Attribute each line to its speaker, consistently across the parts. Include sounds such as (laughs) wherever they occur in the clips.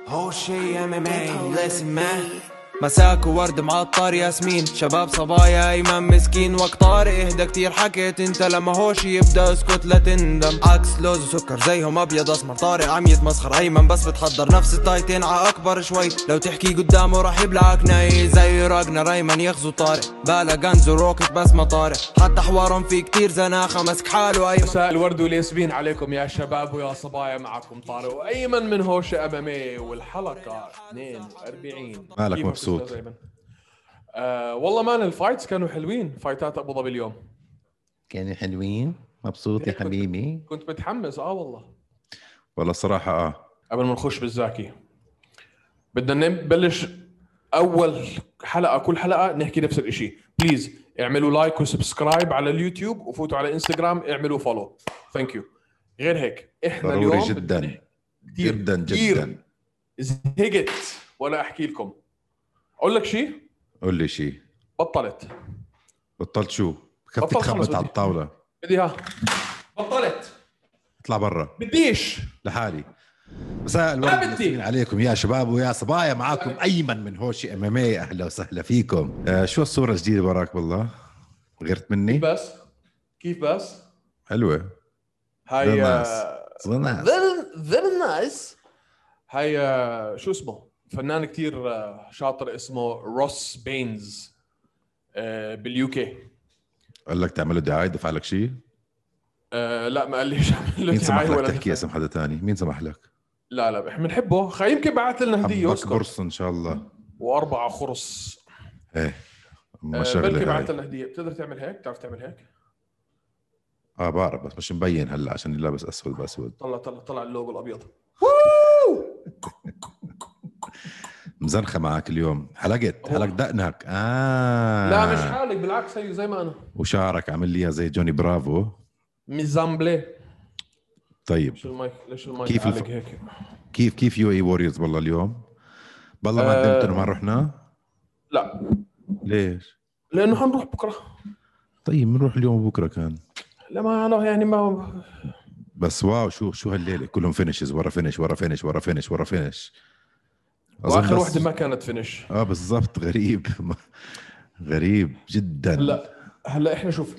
Speaker 1: هو شي ام ام اي ليسن مان
Speaker 2: مساك وورد معطر ياسمين شباب صبايا ايمن مسكين وقت طارق اهدى كتير حكيت انت لما هوش يبدا اسكت لا تندم عكس لوز وسكر زيهم ابيض اسمر طارق عم يتمسخر ايمن بس بتحضر نفس التايتين ع اكبر شوي لو تحكي قدامه راح يبلعك ناي زي راجنا ريمان يغزو طارق بالا غنز وروكت بس ما طارق حتى حوارهم في كتير زناخه مسك حاله ايمن
Speaker 3: مساء الورد والياسمين عليكم يا شباب ويا صبايا معكم طارق وايمن من هوشة امامي والحلقه 42
Speaker 4: مالك
Speaker 3: كيفك
Speaker 4: مبسوط؟
Speaker 3: أستاذ أيمن؟ آه والله مان الفايتس كانوا حلوين فايتات ابو ظبي اليوم
Speaker 4: كانوا حلوين مبسوط يا
Speaker 3: ليك كنت-
Speaker 4: حبيبي
Speaker 3: كنت متحمس اه والله
Speaker 4: والله صراحة اه
Speaker 3: قبل ما نخش بالزاكي بدنا نبلش اول حلقه كل حلقه نحكي نفس الشيء بليز اعملوا لايك وسبسكرايب على اليوتيوب وفوتوا على انستغرام اعملوا فولو ثانك يو غير هيك احنا
Speaker 4: ضروري
Speaker 3: اليوم
Speaker 4: جداً.
Speaker 3: بدنا نحكي كتير-
Speaker 4: جداً
Speaker 3: كتير.
Speaker 4: جداً.
Speaker 3: زهقت ولا احكي لكم اقول لك شيء
Speaker 4: قول لي شيء
Speaker 3: بطلت
Speaker 4: بطلت شو
Speaker 3: بطلت
Speaker 4: خفت
Speaker 3: خلص
Speaker 4: تخبط على
Speaker 3: بدي.
Speaker 4: الطاولة
Speaker 3: بدي ها بطلت
Speaker 4: اطلع برا
Speaker 3: بديش
Speaker 4: لحالي مساء
Speaker 3: ما
Speaker 4: الورد
Speaker 3: بدي.
Speaker 4: والياسمين عليكم يا شباب ويا صبايا معاكم ايمن من هوشي ام ام اي اهلا وسهلا فيكم آه شو الصورة الجديدة وراك والله غيرت مني
Speaker 3: كيف بس كيف بس
Speaker 4: حلوة
Speaker 3: هاي
Speaker 4: بالناس.
Speaker 3: آه،
Speaker 4: صغنها
Speaker 3: فيري فيري نايس هاي آه، شو اسمه فنان كتير آه، شاطر اسمه روس بينز آه، باليو كي
Speaker 4: قال لك تعمل له دعاية دفع لك شيء
Speaker 3: آه، لا ما قال لي شامل
Speaker 4: مين
Speaker 3: له
Speaker 4: سمح
Speaker 3: دعايه
Speaker 4: لك
Speaker 3: ولا
Speaker 4: تحكي
Speaker 3: دفع.
Speaker 4: اسم حدا تاني مين سمح لك
Speaker 3: لا لا احنا بنحبه خ- يمكن بعث لنا هديه
Speaker 4: حبك
Speaker 3: اسكت
Speaker 4: قرص ان شاء
Speaker 3: آه،
Speaker 4: الله
Speaker 3: واربعه خرص
Speaker 4: ايه ما
Speaker 3: آه، بلكي
Speaker 4: شغلة هاي.
Speaker 3: بعث لنا هديه بتقدر تعمل هيك بتعرف تعمل هيك
Speaker 4: اه بعرف بس مش مبين هلا عشان لابس اسود باسود
Speaker 3: طلع طلع طلع اللوجو الابيض
Speaker 4: مزنخه معك اليوم حلقت
Speaker 3: أوه.
Speaker 4: حلق دقنك اه
Speaker 3: لا مش حالك بالعكس هيو زي ما انا
Speaker 4: وشعرك عامل لي إياه زي جوني برافو
Speaker 3: ميزامبلي
Speaker 4: طيب
Speaker 3: ليش المايك ليش المايك
Speaker 4: كيف
Speaker 3: كيف
Speaker 4: الف-
Speaker 3: هيك
Speaker 4: كيف كيف يو اي ووريرز والله اليوم بالله ما
Speaker 3: آه.
Speaker 4: ندمت انه ما رحنا
Speaker 3: لا
Speaker 4: ليش
Speaker 3: لانه حنروح بكره
Speaker 4: طيب بنروح اليوم وبكره كان
Speaker 3: لما انا يعني ما
Speaker 4: بس واو شو شو هالليله كلهم فينشز ورا فينش ورا فينش ورا فينش ورا فينش
Speaker 3: واخر وحده ما كانت فينش
Speaker 4: اه بالضبط غريب (laughs) غريب جدا
Speaker 3: هلا هلا احنا شوف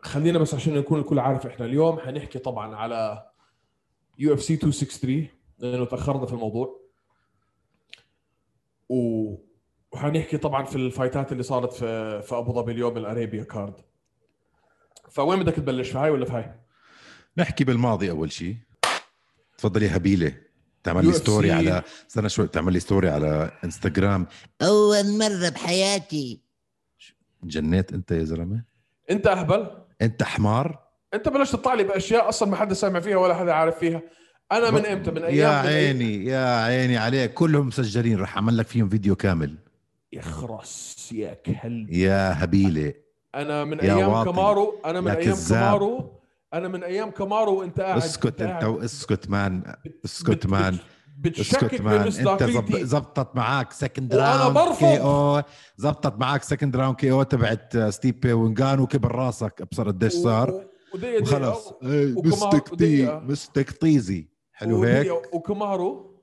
Speaker 3: خلينا بس عشان نكون الكل عارف احنا اليوم حنحكي طبعا على يو اف سي 263 لانه تاخرنا في الموضوع و وحنحكي طبعا في الفايتات اللي صارت في في ابو ظبي اليوم الاريبيا كارد فوين بدك تبلش في هاي ولا في هاي؟
Speaker 4: نحكي بالماضي اول شيء تفضل يا هبيله تعمل لي
Speaker 3: UFC.
Speaker 4: ستوري على استنى شوي تعمل لي ستوري على انستغرام
Speaker 5: أول مرة بحياتي
Speaker 4: جنيت انت يا زلمه
Speaker 3: انت اهبل
Speaker 4: انت حمار
Speaker 3: انت بلشت تطلع لي باشياء اصلا ما حدا سامع فيها ولا حدا عارف فيها انا من امتى من ايام
Speaker 4: يا
Speaker 3: من أيام-
Speaker 4: عيني يا عيني عليك كلهم مسجلين رح اعمل لك فيهم فيديو كامل
Speaker 3: يخرس يا كلب
Speaker 4: يا هبيله
Speaker 3: انا من
Speaker 4: يا
Speaker 3: ايام
Speaker 4: واطي.
Speaker 3: كامارو انا من
Speaker 4: يا
Speaker 3: ايام
Speaker 4: كذاب.
Speaker 3: كامارو انا من ايام كامارو وانت قاعد
Speaker 4: اسكت انت
Speaker 3: قاعد
Speaker 4: واسكت مان
Speaker 3: بت-
Speaker 4: اسكت
Speaker 3: بت-
Speaker 4: مان
Speaker 3: بت-
Speaker 4: اسكت
Speaker 3: بتشكك
Speaker 4: مان انت زب-
Speaker 3: بمصداقيتي
Speaker 4: زبطت معك سكند
Speaker 3: وأنا
Speaker 4: راوند
Speaker 3: برفض.
Speaker 4: كي او زبطت معك سكند راوند كي او تبعت آه، ستيبي وانجانو كبر راسك ابصر قديش
Speaker 3: و-
Speaker 4: صار
Speaker 3: و- ودقيقة-
Speaker 4: وخلص
Speaker 3: دقيقة-
Speaker 4: إيه،
Speaker 3: وكمان-
Speaker 4: مستك تي
Speaker 3: ودقيقة.
Speaker 4: مستك طيزي حلو هيك
Speaker 3: ودقيقة وكامارو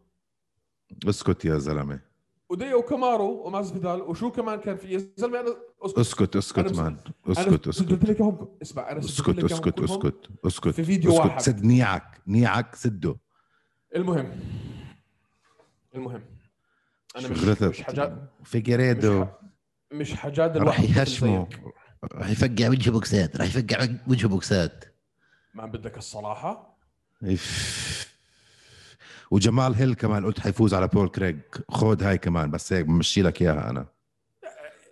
Speaker 4: اسكت يا زلمه
Speaker 3: ودقيقة وكامارو وماس فيدال وشو كمان كان في يا زلمة انا اسكت
Speaker 4: اسكت
Speaker 3: أنا
Speaker 4: اسكت
Speaker 3: مس-
Speaker 4: مان
Speaker 3: أنا
Speaker 4: اسكت اسكت
Speaker 3: سجلت لك اياهم اسمع انا سجلت
Speaker 4: اسكت
Speaker 3: لك إياهم
Speaker 4: اسكت
Speaker 3: كلهم.
Speaker 4: اسكت اسكت
Speaker 3: في فيديو
Speaker 4: اسكت
Speaker 3: واحد.
Speaker 4: سد نيعك نيعك سده
Speaker 3: المهم المهم انا مش
Speaker 4: شغلتك.
Speaker 3: مش حاجات
Speaker 4: فيجريدو
Speaker 3: مش ح- مش حجاد
Speaker 4: راح
Speaker 3: الواحد مثل
Speaker 4: يهشمه
Speaker 3: زيك.
Speaker 5: راح يفقع وجه بوكسات راح يفقع وجه بوكسات
Speaker 3: ما بدك الصراحه
Speaker 4: إف. وجمال هيل كمان قلت حيفوز على بول كريغ خود هاي كمان بس هيك بمشي لك اياها انا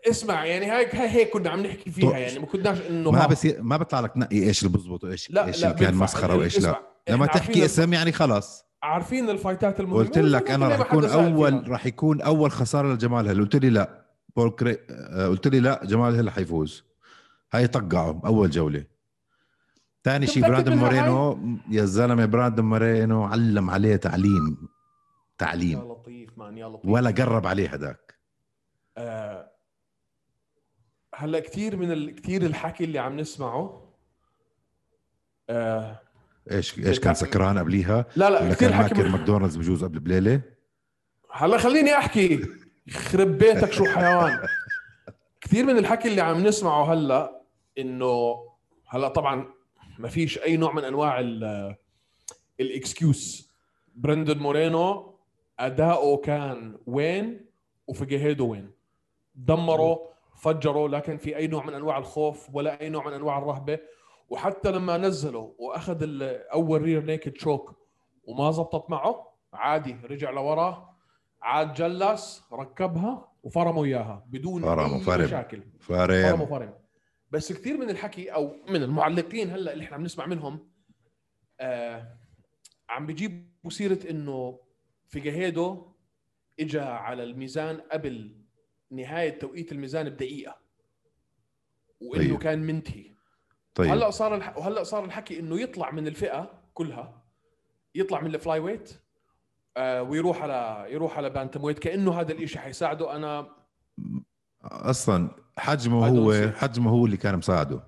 Speaker 3: اسمع يعني هاي هاي هيك كنا عم نحكي فيها
Speaker 4: طب-
Speaker 3: يعني ما كناش انه
Speaker 4: ما
Speaker 3: ها.
Speaker 4: بصير ما بيطلع لك تنقي ايش اللي بزبط وايش
Speaker 3: لا
Speaker 4: ايش
Speaker 3: لا
Speaker 4: اللي كان
Speaker 3: بينفع.
Speaker 4: مسخره وايش
Speaker 3: اسمع،
Speaker 4: لا
Speaker 3: إحنا
Speaker 4: لما
Speaker 3: عارفين
Speaker 4: تحكي
Speaker 3: ال-
Speaker 4: اسم يعني خلاص
Speaker 3: عارفين الفايتات المهمه
Speaker 4: قلت لك انا
Speaker 3: والفايتات
Speaker 4: راح
Speaker 3: اللي
Speaker 4: يكون
Speaker 3: ما حدا سأل
Speaker 4: اول
Speaker 3: فيها.
Speaker 4: راح يكون اول خساره لجمال هيل قلت لي لا بول كري... آه، قلت لي لا جمال هيل حيفوز هاي طقعه اول جوله ثاني
Speaker 3: أنت
Speaker 4: شيء
Speaker 3: متأكد
Speaker 4: براندن
Speaker 3: منها
Speaker 4: مورينو يا زلمه براندن مورينو علم عليه تعليم
Speaker 3: يا
Speaker 4: تعليم
Speaker 3: لطيف مان يا لطيف
Speaker 4: ولا قرب عليه هداك
Speaker 3: آه هلا كثير من ال... كثير الحكي اللي عم نسمعه آه
Speaker 4: ايش ايش كان سكران قبليها
Speaker 3: لا
Speaker 4: ولا
Speaker 3: لا كثير
Speaker 4: كان
Speaker 3: حكي
Speaker 4: ماكل
Speaker 3: من...
Speaker 4: ماكدونالدز بجوز قبل بليله
Speaker 3: هلا خليني احكي خرب بيتك شو حيوان كثير من الحكي اللي عم نسمعه هلا انه هلا طبعا ما فيش اي نوع من انواع ال- الاكسكيوز برندن مورينو اداؤه كان وين وفيجيهيدو وين دمروا فجروا لا كان في اي نوع من انواع الخوف ولا اي نوع من انواع الرهبه وحتى لما نزله واخذ ال- اول رير نيكد شوك وما زبطت معه عادي رجع لورا عاد جلس ركبها وفرموا اياها بدون
Speaker 4: فرموا،
Speaker 3: اي
Speaker 4: فرم.
Speaker 3: مشاكل فرم
Speaker 4: فارم
Speaker 3: وفرم بس كثير من الحكي او من المعلقين هلا اللي احنا عم نسمع منهم آه عم بيجيبوا سيره انه فيجاهيدو اجى على الميزان قبل نهايه توقيت الميزان بدقيقه وانه
Speaker 4: طيب.
Speaker 3: كان منتهي
Speaker 4: طيب
Speaker 3: هلا صار الح... وهلا صار الحكي انه يطلع من الفئه كلها يطلع من الفلاي ويت آه ويروح على يروح على بانتم ويت كانه هذا الشيء حيساعده انا
Speaker 4: اصلا حجمه
Speaker 3: I don't
Speaker 4: هو
Speaker 3: see.
Speaker 4: حجمه هو اللي كان مساعده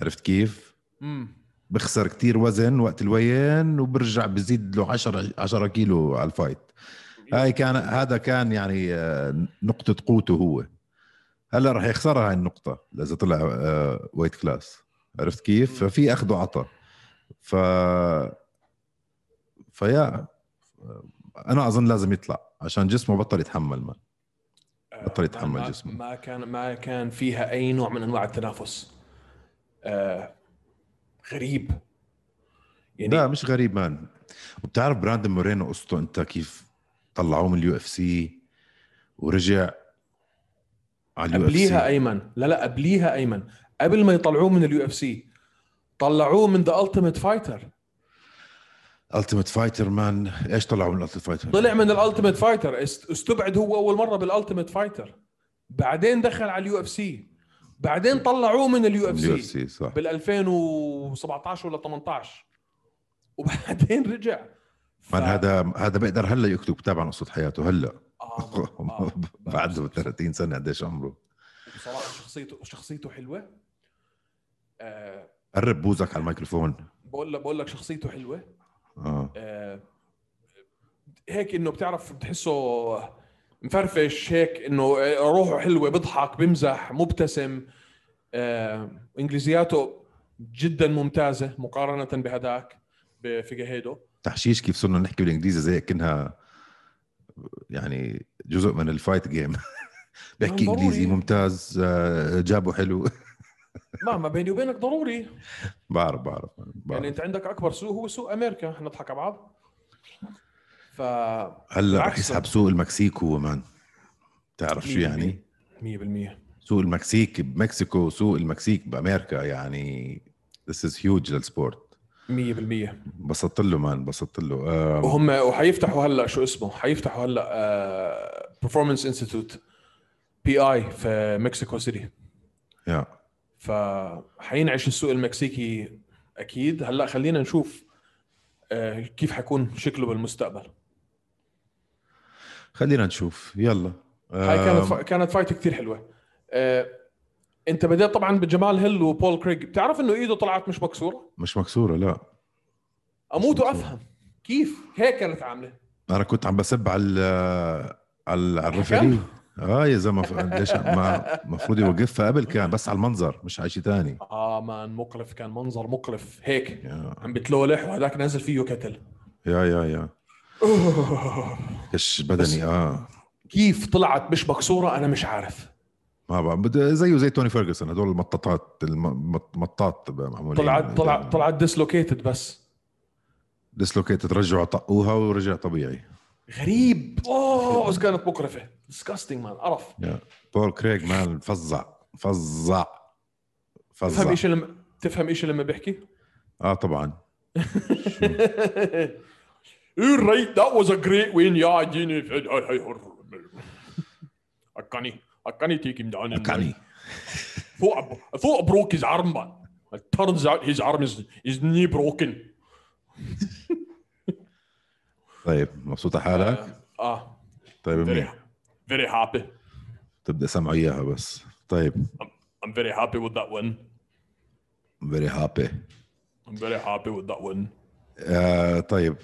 Speaker 4: عرفت كيف؟
Speaker 3: مم.
Speaker 4: بخسر كتير وزن وقت الوين وبرجع بزيد له 10 10 كيلو على الفايت هاي كان هذا كان يعني آه، نقطة قوته هو هلا رح يخسرها هاي النقطة إذا طلع آه، وايت كلاس عرفت كيف؟
Speaker 3: مم.
Speaker 4: ففي أخذ وعطى ف فيا آه، أنا أظن لازم يطلع عشان جسمه بطل يتحمل ما
Speaker 3: آه،
Speaker 4: بطل يتحمل
Speaker 3: ما-
Speaker 4: جسمه.
Speaker 3: ما كان ما كان فيها اي نوع من انواع التنافس آه غريب يعني
Speaker 4: لا مش غريب مان وبتعرف براندن مورينو قصته انت كيف طلعوه من اليو اف سي ورجع على اليو اف
Speaker 3: قبليها
Speaker 4: سي
Speaker 3: ايمن لا لا قبليها ايمن قبل ما يطلعوه من اليو اف سي طلعوه من ذا التيميت فايتر
Speaker 4: التيمت فايتر مان ايش طلعوا من التيمت فايتر؟
Speaker 3: طلع من الالتيميت فايتر استبعد هو اول مره بالالتيميت فايتر بعدين دخل على اليو اف سي بعدين طلعوه من اليو اف
Speaker 4: اليو اف
Speaker 3: سي
Speaker 4: سي صح
Speaker 3: بال 2017 ولا 18 وبعدين رجع ف...
Speaker 4: مان هذا هذا بيقدر هلا يكتب كتاب عن قصه حياته هلا
Speaker 3: آه،
Speaker 4: (laughs)
Speaker 3: آه.
Speaker 4: بعده 30 سنه قديش عمره
Speaker 3: بصراحه شخصيته شخصيته حلوه آه
Speaker 4: قرب بوزك على الميكروفون
Speaker 3: بقول لك بقول لك شخصيته حلوه
Speaker 4: اه
Speaker 3: آه، هيك انه بتعرف بتحسه مفرفش هيك انه روحه حلوه بيضحك بمزح مبتسم آه، انجليزياته جدا ممتازه مقارنه بهداك بفيجاهيدو
Speaker 4: تحشيش كيف صرنا نحكي بالانجليزي زي كأنها يعني جزء من الفايت (laughs) جيم بيحكي
Speaker 3: ضروري.
Speaker 4: انجليزي ممتاز آه، جابه حلو (laughs)
Speaker 3: ما ما بيني وبينك ضروري
Speaker 4: بعرف بعرف بعرف
Speaker 3: يعني انت عندك اكبر سوق هو سوق امريكا احنا نضحك على بعض ف
Speaker 4: هلا رح
Speaker 3: بالعكس.
Speaker 4: يسحب سوق المكسيك هو مان تعرف شو يعني
Speaker 3: 100%
Speaker 4: سوق المكسيك بمكسيكو سوق المكسيك بامريكا يعني this is huge للسبورت
Speaker 3: 100% 100%
Speaker 4: انبسطت له مان انبسطت له آه،
Speaker 3: وهم وحيفتحوا هلا شو اسمه حيفتحوا آه، هلا برفورمانس انستيتوت بي اي في مكسيكو سيتي
Speaker 4: يا
Speaker 3: فحينعش السوق المكسيكي اكيد هلا خلينا نشوف آه، كيف حيكون شكله بالمستقبل
Speaker 4: خلينا نشوف يلا
Speaker 3: هاي كانت
Speaker 4: آم،
Speaker 3: فا- كانت فايت كثير حلوه آه، انت بدأت طبعا بجمال هيل وبول كريج بتعرف انه ايده طلعت مش مكسوره
Speaker 4: مش مكسوره لا
Speaker 3: اموت وافهم كيف هيك كانت عامله
Speaker 4: انا كنت عم بسب على ال- على على
Speaker 3: الحكم؟
Speaker 4: الرفري اه يا زلمه ف- ليش ما المفروض يوقفها قبل كان بس على المنظر مش على شيء ثاني
Speaker 3: اه مان مقرف كان منظر مقرف هيك عم بتلولح وهداك نازل فيه كتل
Speaker 4: يا يا يا ايش بدني اه
Speaker 3: كيف طلعت مش مكسوره انا مش عارف
Speaker 4: ما بقى بد- زيه زي توني فيرجسون هدول المطاطات المطاط معمولين يعني
Speaker 3: طلعت طلعت طلعت ديسلوكيتد بس
Speaker 4: ديسلوكيت رجعوا طقوها ورجع طبيعي
Speaker 3: غريب اوه بس كانت مقرفه ديسكاستنج مان قرف
Speaker 4: يا. بول كريغ مان فظع فظع
Speaker 3: تفهم
Speaker 4: فظع
Speaker 3: ايش لما تفهم ايش لما بحكي؟
Speaker 4: اه طبعا
Speaker 3: right that was a great win yeah I didn't حقني حقني take him down and-
Speaker 4: كاني
Speaker 3: I thought I, I thought I broke his arm but it turns out his arm is his knee broken
Speaker 4: طيب مبسوطه حالك
Speaker 3: اه
Speaker 4: طيب
Speaker 3: very
Speaker 4: منيح
Speaker 3: very happy
Speaker 4: تبدا سمعوا اياها بس طيب
Speaker 3: I'm very happy with that win
Speaker 4: فيري هابي
Speaker 3: I'm very happy with that one.
Speaker 4: آه طيب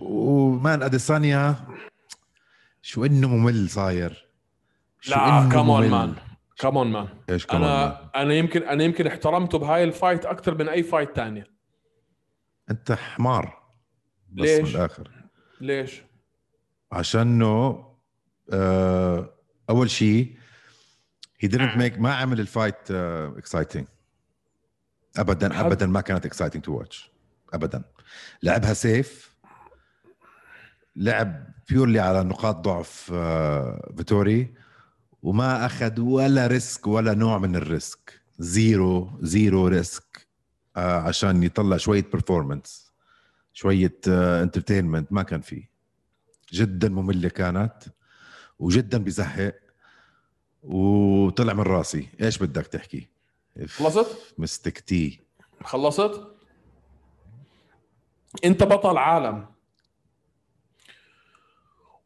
Speaker 4: ومان اديسانيا شو انه ممل صاير شو
Speaker 3: لا
Speaker 4: إنه
Speaker 3: كمون
Speaker 4: ممل.
Speaker 3: مان كمون مان
Speaker 4: ايش كمان مان؟
Speaker 3: انا انا يمكن انا يمكن احترمته بهاي الفايت اكثر من اي فايت تانية
Speaker 4: انت حمار بس
Speaker 3: ليش؟
Speaker 4: بالاخر
Speaker 3: ليش؟
Speaker 4: عشانه آه اول شيء هي didn't make ما عمل آه، الفايت اكسايتنج ابدا
Speaker 3: حد-
Speaker 4: ابدا ما كانت اكسايتنج تو واتش ابدا لعبها سيف لعب بيورلي على نقاط ضعف آه فيتوري وما اخذ ولا ريسك ولا نوع من الريسك زيرو زيرو ريسك آه عشان يطلع شويه برفورمانس شويه انترتينمنت آه، ما كان فيه جدا ممله كانت وجدا بزهق وطلع من راسي ايش بدك تحكي
Speaker 3: خلصت؟
Speaker 4: مستكتي
Speaker 3: خلصت؟ انت بطل عالم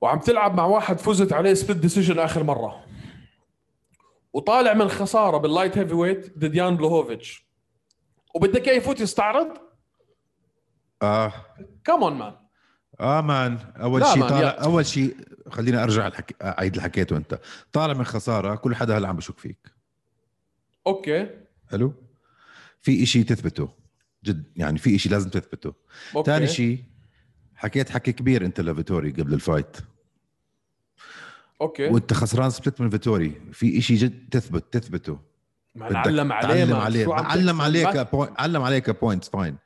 Speaker 3: وعم تلعب مع واحد فزت عليه سبليت ديسيجن اخر مره وطالع من خساره باللايت هيفي ويت ضد يان بلوهوفيتش وبدك اياه يفوت يستعرض؟
Speaker 4: اه
Speaker 3: كمون مان
Speaker 4: اه مان اول
Speaker 3: لا
Speaker 4: شيء
Speaker 3: مان،
Speaker 4: طالع
Speaker 3: يا-
Speaker 4: اول شيء خليني ارجع الحك... اعيد اللي حكيته انت طالع من خساره كل حدا هلا عم بشك فيك
Speaker 3: اوكي
Speaker 4: حلو في إشي تثبته جد يعني في إشي لازم تثبته
Speaker 3: اوكي
Speaker 4: ثاني شيء حكيت حكي كبير انت لفيتوري قبل الفايت
Speaker 3: اوكي
Speaker 4: وانت خسران سبلت من فيتوري في إشي جد تثبت تثبته
Speaker 3: ما
Speaker 4: بدك
Speaker 3: نعلم عليه
Speaker 4: تعلم
Speaker 3: ما.
Speaker 4: عليه
Speaker 3: شو عم
Speaker 4: علم
Speaker 3: تحكي؟
Speaker 4: عليك
Speaker 3: ما-
Speaker 4: بوينت علم عليك بوينتس فاين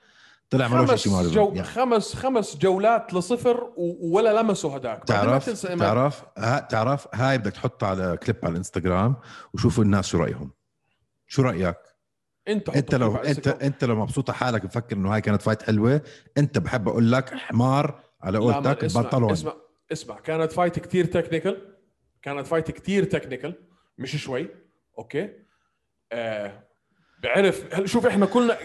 Speaker 4: طلع ما
Speaker 3: خمس
Speaker 4: شيء ما
Speaker 3: جو...
Speaker 4: يعني.
Speaker 3: خمس خمس جولات لصفر و... ولا لمسوا هداك بعدين ما
Speaker 4: تعرف
Speaker 3: تنسى إما-
Speaker 4: تعرف ها تعرف هاي بدك تحطها على كليب على الانستغرام وشوفوا الناس شو رايهم شو رايك
Speaker 3: انت
Speaker 4: انت لو انت انت لو مبسوط على حالك مفكر انه هاي كانت فايت حلوه انت بحب اقول لك حمار على قولتك
Speaker 3: اسمع,
Speaker 4: بطلون
Speaker 3: اسمع اسمع كانت فايت كتير تكنيكال كانت فايت كتير تكنيكال مش شوي اوكي آه... بعرف هل- شوف احنا كلنا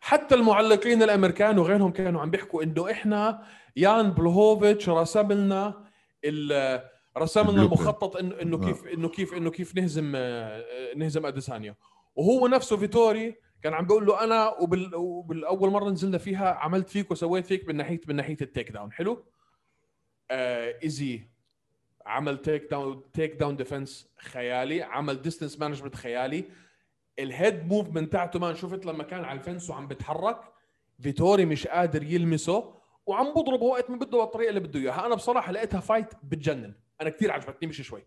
Speaker 3: حتى المعلقين الامريكان وغيرهم كانوا عم بيحكوا انه احنا يان بلوهوفيتش رسم لنا ال... رسم لنا
Speaker 4: البلوك.
Speaker 3: المخطط انه انه كيف انه كيف انه كيف نهزم آه، نهزم اديسانيا وهو نفسه فيتوري كان عم بيقول له انا وبال... وبالاول مره نزلنا فيها عملت فيك وسويت فيك من ناحيه من ناحيه التيك داون حلو آه ايزي عمل تيك داون تيك داون ديفنس خيالي عمل ديستنس مانجمنت خيالي الهيد موفمنت تاعته مان شفت لما كان على الفنس وعم بتحرك فيتوري مش قادر يلمسه وعم بضربه وقت ما بده بالطريقه اللي بده اياها انا بصراحه لقيتها فايت بتجنن انا كثير عجبتني مش شوي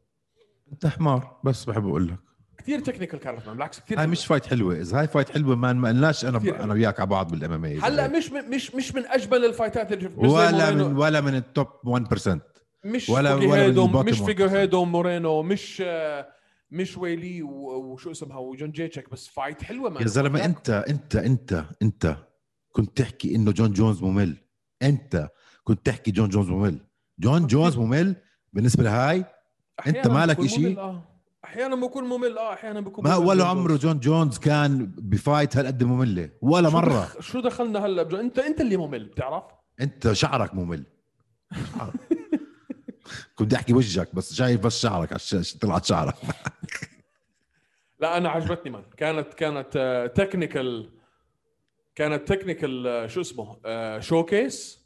Speaker 4: انت حمار بس بحب اقول لك
Speaker 3: كثير تكنيكال كانت مان بالعكس كثير
Speaker 4: هاي مش فايت حلوه اذا هاي فايت حلوه ما ما قلناش انا
Speaker 3: كتير حلوة.
Speaker 4: انا وياك على بعض بالام
Speaker 3: هلا
Speaker 4: ام
Speaker 3: مش من- مش مش من اجمل الفايتات اللي شفتها مش زي
Speaker 4: ولا
Speaker 3: مورينو،
Speaker 4: من ولا من التوب 1%
Speaker 3: مش
Speaker 4: ولا-
Speaker 3: ولا
Speaker 4: ولا من
Speaker 3: هيدو
Speaker 4: الباطن
Speaker 3: مش
Speaker 4: والقصة.
Speaker 3: فيجو هيدو مورينو مش آه، مش ويلي و- وشو اسمها وجون جيتشك بس فايت حلوه مان
Speaker 4: يا زلمه انت انت انت انت كنت تحكي انه جون جونز ممل انت كنت تحكي جون جونز ممل جون جونز ممل بالنسبه لهاي
Speaker 3: أحياناً
Speaker 4: أنت مالك
Speaker 3: بكون
Speaker 4: إشي؟
Speaker 3: ممل، آه. احيانا بكون ممل اه احيانا بكون
Speaker 4: ما
Speaker 3: ممل
Speaker 4: ولا
Speaker 3: جون
Speaker 4: عمره
Speaker 3: جونز.
Speaker 4: جون جونز كان بفايت هالقد ممله ولا
Speaker 3: شو
Speaker 4: مره
Speaker 3: دخ- شو دخلنا هلا بجون انت انت اللي ممل بتعرف
Speaker 4: انت شعرك ممل (laughs) شعرك. كنت بدي احكي وجهك بس شايف بس شعرك عش- طلعت شعرك
Speaker 3: لا انا عجبتني مان كانت كانت تكنيكال كانت تكنيكال شو اسمه آه، شو كيس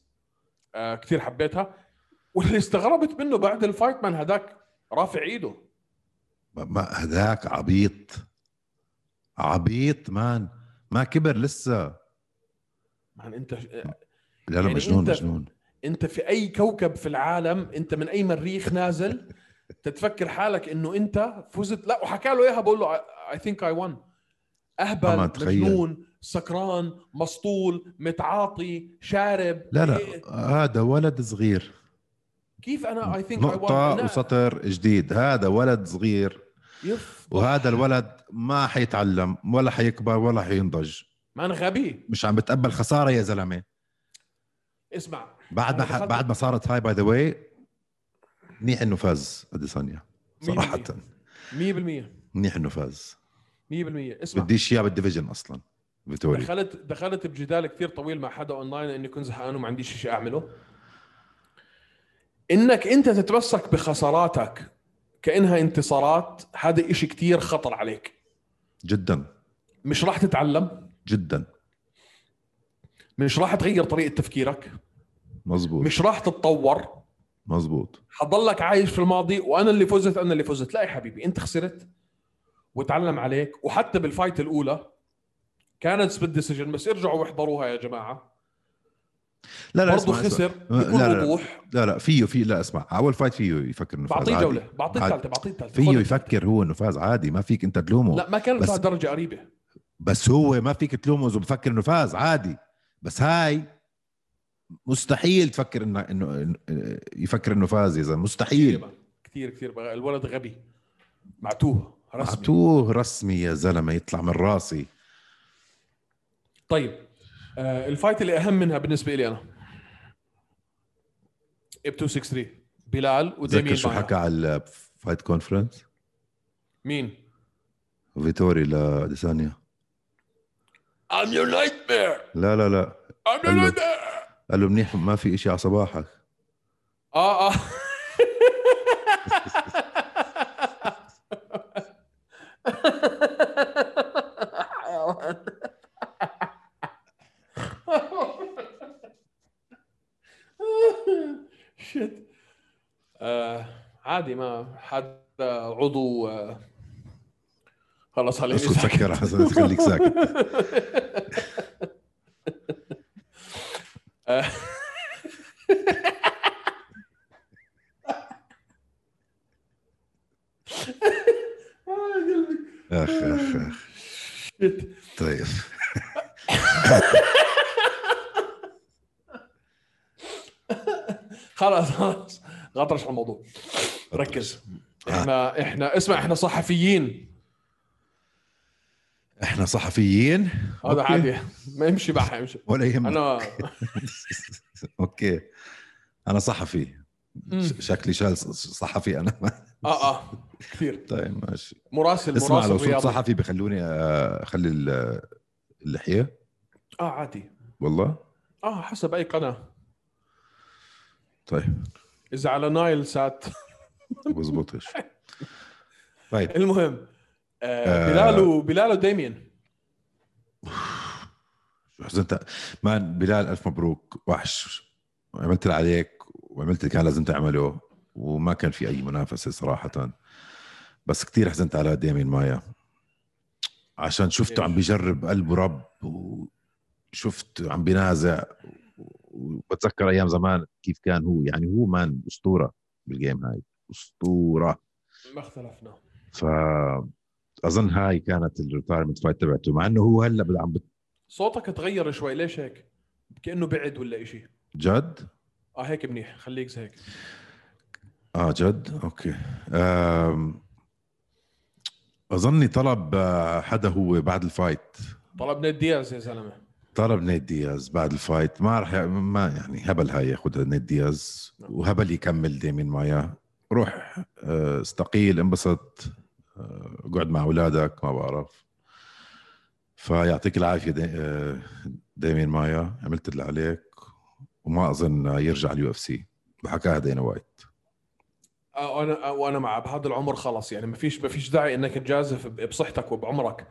Speaker 3: كثير حبيتها واللي استغربت منه بعد الفايت مان هذاك رافع ايده
Speaker 4: ما- ما هذاك عبيط عبيط مان ما كبر لسه
Speaker 3: مان انت
Speaker 4: لا لا
Speaker 3: يعني
Speaker 4: مجنون
Speaker 3: أنت-
Speaker 4: مجنون
Speaker 3: انت في اي كوكب في العالم انت من اي مريخ نازل تتفكر حالك انه انت فزت لا وحكى له اياها بقول له اي ثينك اي وان
Speaker 4: أما
Speaker 3: اهبل
Speaker 4: تخيل.
Speaker 3: مجنون سكران مسطول متعاطي شارب
Speaker 4: لا لا
Speaker 3: إيه،
Speaker 4: هذا ولد صغير
Speaker 3: كيف انا اي ثينك اي
Speaker 4: نقطة وسطر جديد هذا ولد صغير وهذا الولد ما حيتعلم ولا حيكبر ولا حينضج
Speaker 3: ما انا غبي
Speaker 4: مش عم بتقبل خسارة يا زلمة
Speaker 3: اسمع
Speaker 4: بعد ما
Speaker 3: أنا
Speaker 4: ح...
Speaker 3: دخلت-
Speaker 4: بعد ما صارت هاي باي ذا واي منيح انه فاز اديسانيا صراحة
Speaker 3: 100% 100%
Speaker 4: منيح انه فاز
Speaker 3: 100% اسمع
Speaker 4: بديش اياه بالديفيجن اصلا فيتوري
Speaker 3: دخلت دخلت بجدال كثير طويل مع حدا اونلاين اني كنت زهقان وما عنديش شيء اعمله انك انت تتمسك بخساراتك كانها انتصارات هذا إشي كثير خطر عليك
Speaker 4: جدا
Speaker 3: مش راح تتعلم
Speaker 4: جدا
Speaker 3: مش راح تغير طريقه تفكيرك
Speaker 4: مزبوط
Speaker 3: مش راح تتطور
Speaker 4: مزبوط
Speaker 3: حضلك عايش في الماضي وانا اللي فزت انا اللي فزت لا يا حبيبي انت خسرت وتعلم عليك وحتى بالفايت الاولى كانت بالديسيجن بس ارجعوا واحضروها يا جماعه
Speaker 4: لا لا
Speaker 3: برضه
Speaker 4: اسمع اسمع.
Speaker 3: خسر
Speaker 4: لا،
Speaker 3: بكل
Speaker 4: لا، لا.
Speaker 3: وضوح
Speaker 4: لا لا فيه فيه لا اسمع اول فايت فيه يفكر انه فاز
Speaker 3: بعطيه
Speaker 4: عادي.
Speaker 3: جوله بعطيه
Speaker 4: عادي.
Speaker 3: الثالثه بعطيه الثالثه
Speaker 4: فيه
Speaker 3: خذ.
Speaker 4: يفكر هو انه فاز عادي ما فيك انت تلومه
Speaker 3: لا ما كانت
Speaker 4: بس-
Speaker 3: لهالدرجه قريبه
Speaker 4: بس هو ما فيك تلومه اذا بفكر انه فاز عادي بس هاي مستحيل تفكر انه انه إنه- يفكر انه فاز يا زلمه مستحيل
Speaker 3: كثير كثير بقى الولد غبي معتوه رسمي معتوه.
Speaker 4: عطوه رسمي يا زلمه يطلع من راسي
Speaker 3: طيب آه الفايت اللي اهم منها بالنسبه لي انا اب 263 بلال وديمين
Speaker 4: تذكر شو
Speaker 3: معه.
Speaker 4: حكى على الفايت كونفرنس
Speaker 3: مين؟
Speaker 4: فيتوري لاديسانيا
Speaker 3: I'm your nightmare
Speaker 4: لا لا لا
Speaker 3: I'm your
Speaker 4: قال له-
Speaker 3: nightmare
Speaker 4: قال له منيح ما في إشي على صباحك
Speaker 3: اه اه حيوان. شت آه عادي ما حد عضو آه خلص خليني
Speaker 4: اسكت
Speaker 3: ساكت.
Speaker 4: سكر حسن خليك
Speaker 3: (laughs)
Speaker 4: ساكت
Speaker 3: Uh, آه، قلبي.
Speaker 4: اخ اخ اخ
Speaker 3: شت.
Speaker 4: طيب
Speaker 3: خلاص خلاص غطرش على الموضوع ركز احنا احنا اسمع احنا صحفيين
Speaker 4: احنا صحفيين
Speaker 3: هذا
Speaker 4: أوكي.
Speaker 3: عادي (laughs) ما امشي معها امشي
Speaker 4: ولا يهمك
Speaker 3: انا
Speaker 4: اوكي انا صحفي
Speaker 3: مم.
Speaker 4: ش- شكلي شال ص- صحفي انا
Speaker 3: اه اه كثير
Speaker 4: (laughs) طيب ماشي
Speaker 3: مراسل
Speaker 4: اسمع
Speaker 3: مراسل
Speaker 4: لو صرت
Speaker 3: رياضي
Speaker 4: صحفي بخلوني آه، اخلي ال- اللحيه
Speaker 3: اه عادي
Speaker 4: والله
Speaker 3: اه حسب اي قناه
Speaker 4: طيب
Speaker 3: اذا على نايل سات (laughs)
Speaker 4: بزبطش طيب
Speaker 3: المهم آه
Speaker 4: آه.
Speaker 3: بلال و- بلال وديمين
Speaker 4: شو حزنت مان بلال الف مبروك وحش عملت اللي عليك وعملت اللي كان لازم تعمله وما كان في اي منافسه صراحه بس كتير حزنت على ديمين مايا عشان شفته عم بيجرب قلبه رب وشفته عم بينازع وبتذكر ايام زمان كيف كان هو يعني هو مان اسطوره بالجيم هاي اسطوره
Speaker 3: ما اختلفنا
Speaker 4: ف اظن هاي كانت الريتايرمنت فايت تبعته مع انه هو هلا بد- عم
Speaker 3: صوتك تغير شوي ليش هيك؟ كانه بعد ولا شيء
Speaker 4: بجد
Speaker 3: اه هيك منيح خليك زي هيك
Speaker 4: اه جد اوكي أم... اظني طلب آه، حدا هو بعد الفايت
Speaker 3: طلبنا دياز يا زلمه
Speaker 4: طلب نيد دياز بعد الفايت ما راح ي- ما يعني هبل هاي ياخذها نيد دياز
Speaker 3: نعم.
Speaker 4: وهبل يكمل ديمين مايا روح آه، استقيل انبسط آه، اقعد مع اولادك ما بعرف فيعطيك العافيه دي- آه، ديمين مايا عملت اللي عليك وما اظن يرجع اليو اف سي وحكاها دينا وايت
Speaker 3: آه، انا آه، وانا مع بهذا العمر خلاص يعني ما فيش ما فيش داعي انك تجازف ب- بصحتك وبعمرك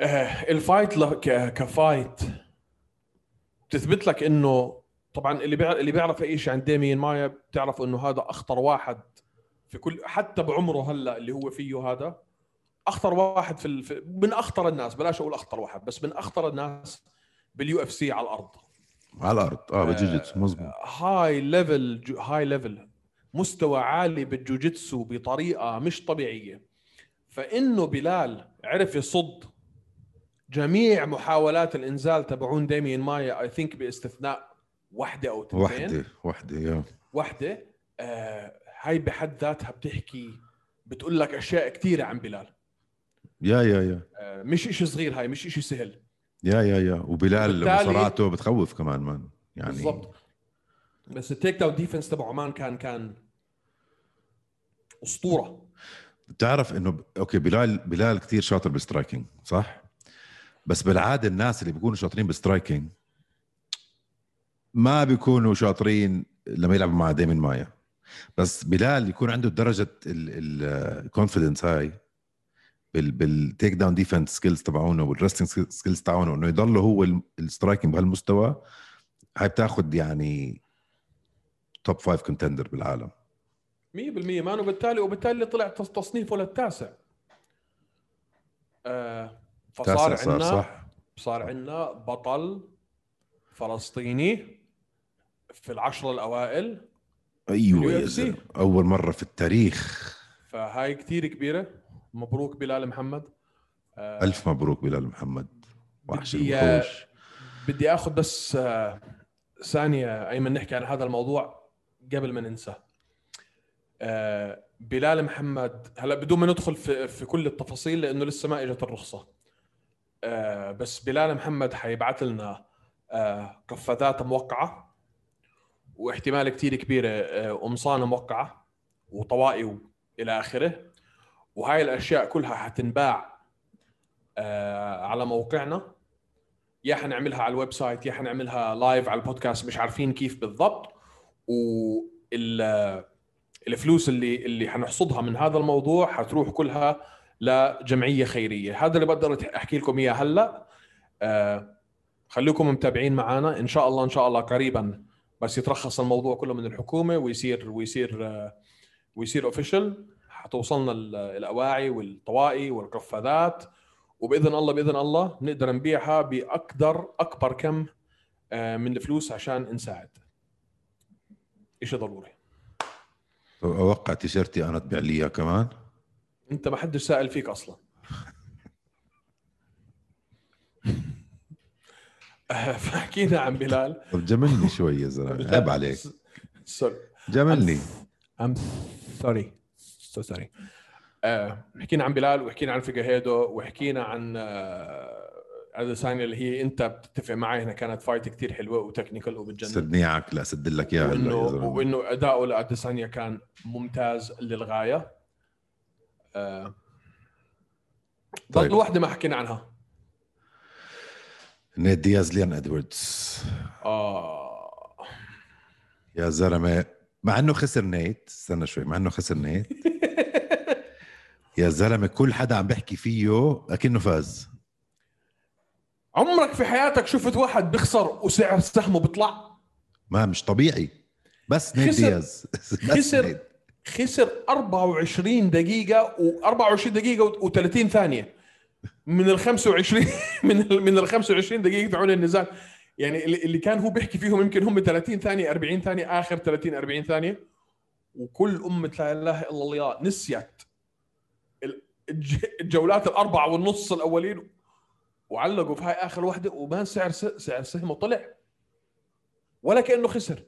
Speaker 3: آه، الفايت ل- ك- كفايت بتثبت لك انه طبعا اللي بيع- اللي بيعرف اي شيء عن ديمين مايا بتعرف انه هذا اخطر واحد في كل حتى بعمره هلا اللي هو فيه هذا اخطر واحد في, ال... في من اخطر الناس بلاش اقول اخطر واحد بس من اخطر الناس باليو اف سي على الارض
Speaker 4: على الارض اه
Speaker 3: آه،
Speaker 4: بالجوجيتسو مزبوط
Speaker 3: هاي ليفل هاي ليفل مستوى عالي بالجوجيتسو بطريقه مش طبيعيه فانه بلال عرف يصد جميع محاولات الانزال تبعون ديمين مايا اي ثينك باستثناء واحده او تنتين
Speaker 4: وحده وحده يا
Speaker 3: واحده آه هاي بحد ذاتها بتحكي بتقول لك اشياء كثيره عن بلال
Speaker 4: يا يا يا
Speaker 3: آه مش إشي صغير هاي مش إشي سهل
Speaker 4: يا يا يا وبلال
Speaker 3: وبالتالي-
Speaker 4: مصاراته بتخوف كمان مان يعني
Speaker 3: بالضبط بس التيك داون ديفنس تبعه مان كان كان اسطوره
Speaker 4: بتعرف انه ب... اوكي بلال بلال كثير شاطر بالسترايكينج صح بس بالعاده الناس اللي بيكونوا شاطرين بالسترايكينج ما بيكونوا شاطرين لما يلعبوا مع ديمين مايا بس بلال يكون عنده درجه الكونفدنس هاي بال بالتيك داون ديفنس سكيلز تبعونه والرستنج سكيلز تبعونه انه يضل هو السترايكينج بهالمستوى هاي بتاخذ يعني توب فايف كونتندر بالعالم
Speaker 3: 100% مان وبالتالي وبالتالي طلع تص- تصنيفه للتاسع آه
Speaker 4: تاسع
Speaker 3: فصار
Speaker 4: صار
Speaker 3: عندنا صح.
Speaker 4: صح
Speaker 3: صار عندنا بطل فلسطيني في العشرة الأوائل
Speaker 4: ايوه
Speaker 3: ال
Speaker 4: يا
Speaker 3: UFC.
Speaker 4: زلمه اول مره في التاريخ
Speaker 3: فهاي كتير كبيرة مبروك بلال محمد آه
Speaker 4: الف مبروك بلال محمد وحش
Speaker 3: بدي-
Speaker 4: الوحوش
Speaker 3: بدي اخذ بس آه، ثانيه ايمن نحكي عن هذا الموضوع قبل ما ننساه آه، بلال محمد هلا بدون ما ندخل في في كل التفاصيل لانه لسه ما اجت الرخصه آه، بس بلال محمد حيبعث لنا آه، قفازات موقعه واحتمال كتير كبيره آه، قمصانه موقعه وطوائي الى اخره وهاي الاشياء كلها حتنباع آه، على موقعنا يا حنعملها على الويب سايت يا حنعملها لايف على البودكاست مش عارفين كيف بالضبط وال الفلوس اللي اللي حنحصدها من هذا الموضوع حتروح كلها لجمعيه خيريه هذا اللي بقدر احكي لكم اياه هلا آه خليكم متابعين معنا ان شاء الله ان شاء الله قريبا بس يترخص الموضوع كله من الحكومه ويصير ويصير آه ويصير اوفيشال حتوصلنا ال- الاواعي والطوائي والقفازات وباذن الله باذن الله نقدر نبيعها باقدر اكبر كم آه، من الفلوس عشان نساعد شيء ضروري
Speaker 4: اوقع تيشيرتي انا تبيع لي اياه كمان
Speaker 3: انت ما حدش سائل فيك (laughs) اصلا آه، فحكينا عن بلال
Speaker 4: طب جملني شوي يا
Speaker 3: (laughs)
Speaker 4: زلمه عيب عليك
Speaker 3: سوري
Speaker 4: جملني
Speaker 3: I'm sorry so sorry آه، حكينا عن بلال وحكينا عن فيجاهيدو وحكينا عن آه، عدد ثانية اللي هي انت بتتفق معي هنا كانت فايت كتير حلوه وتكنيكال وبتجنن
Speaker 4: سدنيعك لا اسد لك اياها هلا
Speaker 3: وانه
Speaker 4: يا زلمه
Speaker 3: وانه اداؤه لاديسانيا كان ممتاز للغايه آه،
Speaker 4: طيب.
Speaker 3: ضد واحده ما حكينا عنها
Speaker 4: نيد دياز ليان ادواردز
Speaker 3: اه
Speaker 4: يا زلمه مع انه خسر نيت استنى شوي مع انه خسر
Speaker 3: (laughs)
Speaker 4: نيت يا زلمه كل حدا عم بيحكي فيه اكنه فاز
Speaker 3: عمرك في حياتك شفت واحد بيخسر وسعر سهمه بيطلع
Speaker 4: ما مش طبيعي بس نيت
Speaker 3: خسر.
Speaker 4: دياز (laughs) بس
Speaker 3: خسر.
Speaker 4: نيت.
Speaker 3: خسر 24 دقيقة و24 دقيقة و30 ثانية من ال 25 (laughs) من ال من ال 25 دقيقة تبعون النزال يعني اللي اللي كان هو بيحكي فيهم يمكن هم 30 ثانية 40 ثانية آخر 30 40 ثانية وكل أمة لا إله إلا الله نسيت ال- الج- الجولات الأربعة والنص الأولين وعلقوا في هاي آخر واحدة وما سعر س- سعر سهمه طلع ولا كأنه خسر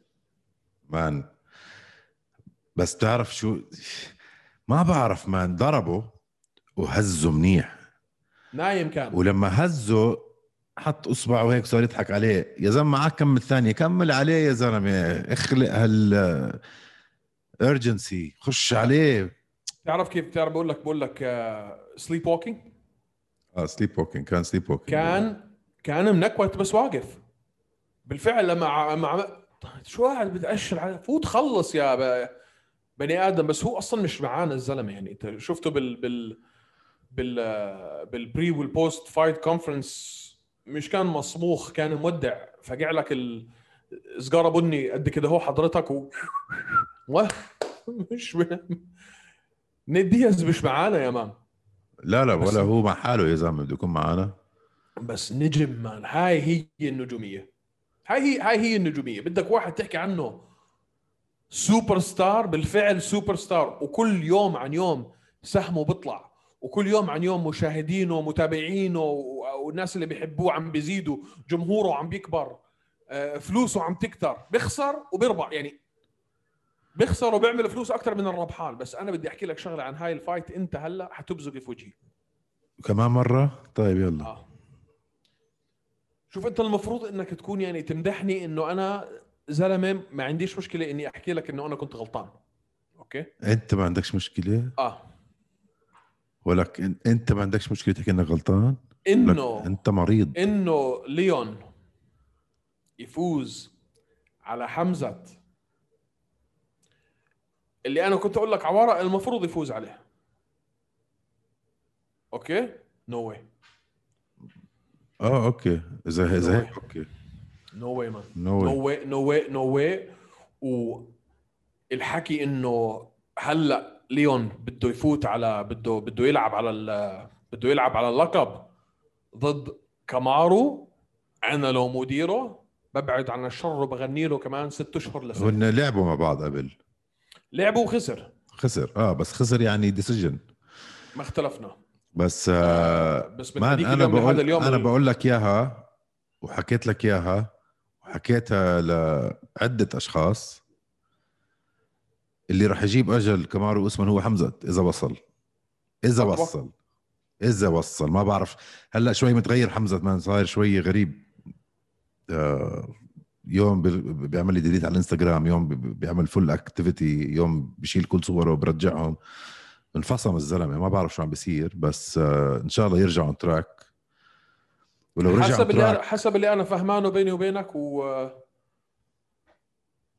Speaker 4: مان بس تعرف شو ما بعرف مان ضربه وهزه منيح
Speaker 3: نايم كان
Speaker 4: ولما هزه حط اصبعه هيك صار يضحك عليه يا زلمه معك كم ثانيه كمل عليه يا زلمه اخلق هال urgency خش عليه
Speaker 3: تعرف كيف تعرف بقول لك بقول لك آه، سليب ووكينج
Speaker 4: اه سليب ووكينج كان سليب ووكينج
Speaker 3: كان كان منكوت بس واقف بالفعل لما ع- مع طيب شو قاعد بتاشر على فوت خلص يا ب... بني ادم بس هو اصلا مش معانا الزلمه يعني انت شفته بال بال بال آه، بالبري والبوست فايت كونفرنس مش كان مصموخ كان مودع فقع لك ال- سجاره بني قد كده هو حضرتك و (laughs) و- مش نيد دياز مش معانا يا مان
Speaker 4: لا لا
Speaker 3: بس-
Speaker 4: ولا هو مع حاله يا زلمه بده يكون معنا
Speaker 3: بس نجم مان هاي هي النجوميه هاي هي هاي هي النجوميه بدك واحد تحكي عنه سوبر ستار بالفعل سوبر ستار وكل يوم عن يوم سهمه بيطلع وكل يوم عن يوم مشاهدينه ومتابعينه و- والناس اللي بيحبوه عم بيزيدوا جمهوره عم بيكبر آه، فلوسه عم تكتر بيخسر وبيربح يعني بيخسر وبيعمل فلوس اكثر من الربحان بس انا بدي احكي لك شغله عن هاي الفايت انت هلا حتبزق في وجهي
Speaker 4: كمان مره طيب يلا
Speaker 3: اه شوف انت المفروض انك تكون يعني تمدحني انه انا زلمه ما عنديش مشكله اني احكي لك انه انا كنت غلطان اوكي
Speaker 4: انت ما عندكش مشكله
Speaker 3: اه
Speaker 4: ولك إن- انت ما عندكش مشكله تحكي انك غلطان لك
Speaker 3: انه
Speaker 4: انت مريض
Speaker 3: انه ليون يفوز على حمزه اللي انا كنت اقول لك عواره المفروض يفوز عليه اوكي نو واي
Speaker 4: اه اوكي اذا اذا هيك اوكي
Speaker 3: نو واي مان
Speaker 4: نو
Speaker 3: نو واي نو واي نو واي الحكي انه هلا ليون بده يفوت على بده بده يلعب على ال- بده يلعب على اللقب ضد كامارو انا لو مديره ببعد عن الشر وبغني له كمان ست اشهر لسنه
Speaker 4: هن لعبوا مع بعض قبل
Speaker 3: لعبوا وخسر
Speaker 4: خسر اه بس خسر يعني ديسيجن
Speaker 3: ما اختلفنا
Speaker 4: بس آه
Speaker 3: بس من
Speaker 4: مان
Speaker 3: هذيك
Speaker 4: انا
Speaker 3: اليوم لهذا
Speaker 4: بقول
Speaker 3: اليوم
Speaker 4: انا
Speaker 3: ال-
Speaker 4: بقول لك اياها وحكيت لك اياها وحكيتها لعده اشخاص اللي راح يجيب اجل كمارو اوسمان هو حمزه اذا وصل اذا
Speaker 3: طبعاً.
Speaker 4: وصل اذا وصل ما بعرف هلا شوي متغير حمزه مان صاير شوي غريب آه يوم بي- بيعمل لي ديليت على الانستغرام يوم بي- بيعمل فل اكتيفيتي يوم بشيل كل صوره وبرجعهم انفصم الزلمه ما بعرف شو عم بيصير بس آه، ان شاء الله يرجع اون تراك ولو رجع
Speaker 3: حسب
Speaker 4: on
Speaker 3: اللي
Speaker 4: track-
Speaker 3: أنا حسب اللي انا فهمانه بيني وبينك و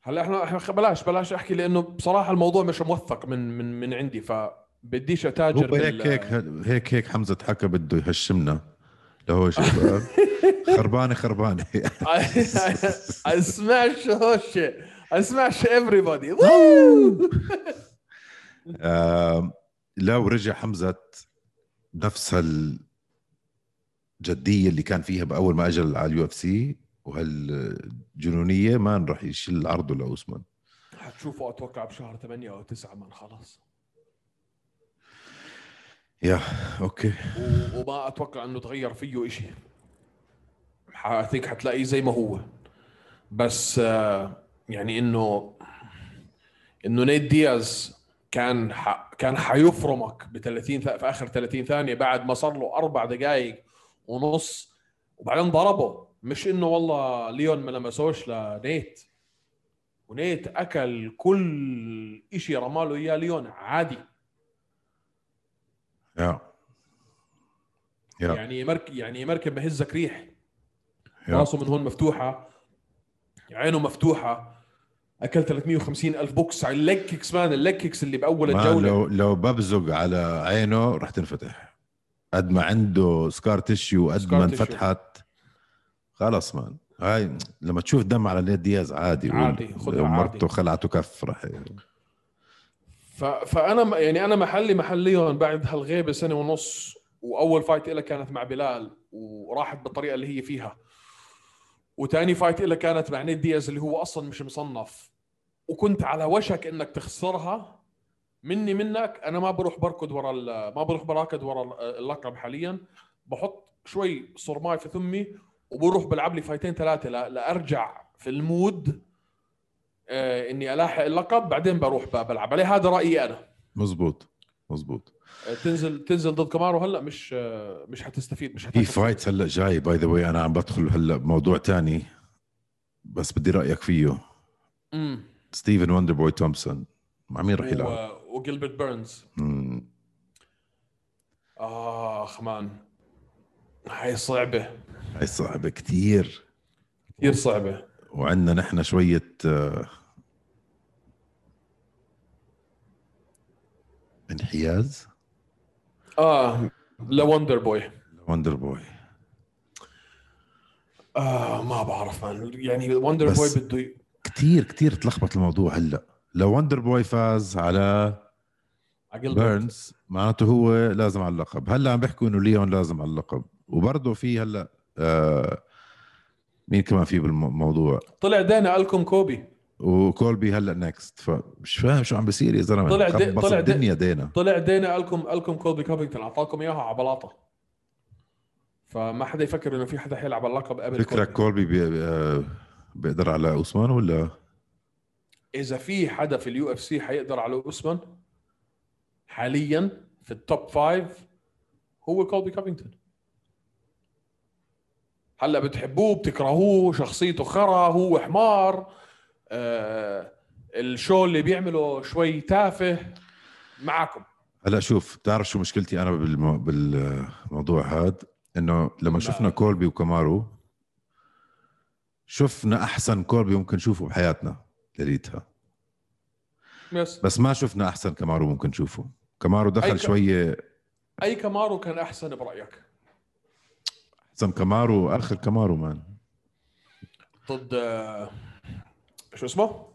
Speaker 3: هلا احنا إحنا- بلاش بلاش احكي لانه بصراحه الموضوع مش موثق من من من عندي فبديش اتاجر
Speaker 4: هو هيك
Speaker 3: (laughs)
Speaker 4: هيك هيك هيك حمزه حكى بده يهشمنا لهو
Speaker 3: (laughs)
Speaker 4: شباب خربانه خربانه
Speaker 3: اسمع هوشه اسمع everybody
Speaker 4: آم، لو رجع حمزه نفس الجديه اللي كان فيها باول ما اجى على اليو اف سي وهالجنونيه ما راح يشيل عرضه لاوسمان
Speaker 3: حتشوفه اتوقع بشهر 8 او 9 من خلاص
Speaker 4: يا اوكي
Speaker 3: و- وما اتوقع انه تغير فيه شيء هيك حتلاقيه زي ما هو بس آه، يعني انه انه نيت دياز كان ح... كان حيفرمك ب 30 ث- في اخر 30 ثانيه بعد ما صار له اربع دقائق ونص وبعدين ضربه مش انه والله ليون ما لمسوش لنيت ونيت اكل كل شيء رماله اياه ليون عادي
Speaker 4: يا يا.
Speaker 3: يعني مرك يعني مركب بهزك ريح
Speaker 4: يا.
Speaker 3: راسه من هون مفتوحه عينه مفتوحه اكل 350 الف بوكس على الليج كيكس مان الليج كيكس اللي باول
Speaker 4: ما
Speaker 3: الجوله
Speaker 4: لو لو ببزق على عينه رح تنفتح قد ما عنده سكار تيشيو قد
Speaker 3: سكار
Speaker 4: ما
Speaker 3: تيشيو.
Speaker 4: انفتحت خلص مان هاي لما تشوف دم على نيد دياز عادي
Speaker 3: عادي،
Speaker 4: وال-
Speaker 3: خدها عادي.
Speaker 4: مرته خلعته كف رح
Speaker 3: ف... فانا م- يعني انا محلي محل ليون بعد هالغيبه سنه ونص واول فايت إلها كانت مع بلال وراحت بالطريقه اللي هي فيها وتاني فايت إلها كانت مع نيد دياز اللي هو اصلا مش مصنف وكنت على وشك انك تخسرها مني منك انا ما بروح بركض ورا ال- ما بروح براكض ورا ال- اللقب حاليا بحط شوي صرماي في ثمي وبروح بلعب لي فايتين ثلاثه لا- لارجع في المود آه، اني الاحق اللقب بعدين بروح ب- بلعب عليه هذا رايي انا
Speaker 4: مزبوط مزبوط
Speaker 3: آه، تنزل تنزل ضد كمارو هلا مش آه، مش حتستفيد مش
Speaker 4: في
Speaker 3: حتاخد
Speaker 4: إيه، فايت هلا جاي باي ذا واي انا عم بدخل هلا بموضوع تاني بس بدي رايك فيه
Speaker 3: أمم.
Speaker 4: ستيفن وندر بوي تومسون مع مين رح يلعب؟
Speaker 3: و- وجيلبرت بيرنز
Speaker 4: مم.
Speaker 3: اخ مان هاي صعبه
Speaker 4: هاي صعبه كثير
Speaker 3: كثير صعبه
Speaker 4: وعندنا نحن شوية آه، انحياز
Speaker 3: اه لوندر بوي
Speaker 4: وندر بوي
Speaker 3: آه ما بعرف مان يعني وندر بوي
Speaker 4: بس-
Speaker 3: بده ي-
Speaker 4: كتير كتير تلخبط الموضوع هلا لو وندر بوي فاز على
Speaker 3: على جيلبرت
Speaker 4: بيرنز معناته هو لازم على اللقب هلا عم بيحكوا انه ليون لازم على اللقب وبرضه في هلا آه مين كمان في بالموضوع
Speaker 3: طلع دانا الكم كوبي
Speaker 4: وكولبي هلا نكست فمش فاهم شو عم بيصير يا زلمه
Speaker 3: طلع دي-
Speaker 4: خبص
Speaker 3: طلع دي-
Speaker 4: الدنيا دينا
Speaker 3: طلع دينا الكم الكم كولبي كوبينغتون اعطاكم اياها على بلاطه فما حدا يفكر انه في حدا حيلعب على اللقب قبل
Speaker 4: فكرك
Speaker 3: كولبي.
Speaker 4: كولبي بي آه، بيقدر على اوسمان ولا
Speaker 3: اذا في حدا في اليو اف سي حيقدر على اوسمان حاليا في التوب فايف هو كولبي كوبينغتون هلا بتحبوه بتكرهوه شخصيته خرا هو حمار آه الشو اللي بيعمله شوي تافه معكم
Speaker 4: هلا شوف بتعرف شو مشكلتي انا بالمو... بالموضوع هاد انه
Speaker 3: نعم.
Speaker 4: لما شفنا كولبي وكامارو شفنا احسن كولبي ممكن نشوفه بحياتنا ليليتها
Speaker 3: بس
Speaker 4: بس ما شفنا احسن كامارو ممكن نشوفه كامارو
Speaker 3: أي
Speaker 4: دخل
Speaker 3: ك-
Speaker 4: شويه
Speaker 3: اي كمارو كان احسن برايك
Speaker 4: احسن كامارو اخر كامارو مان
Speaker 3: ضد آه، شو اسمه؟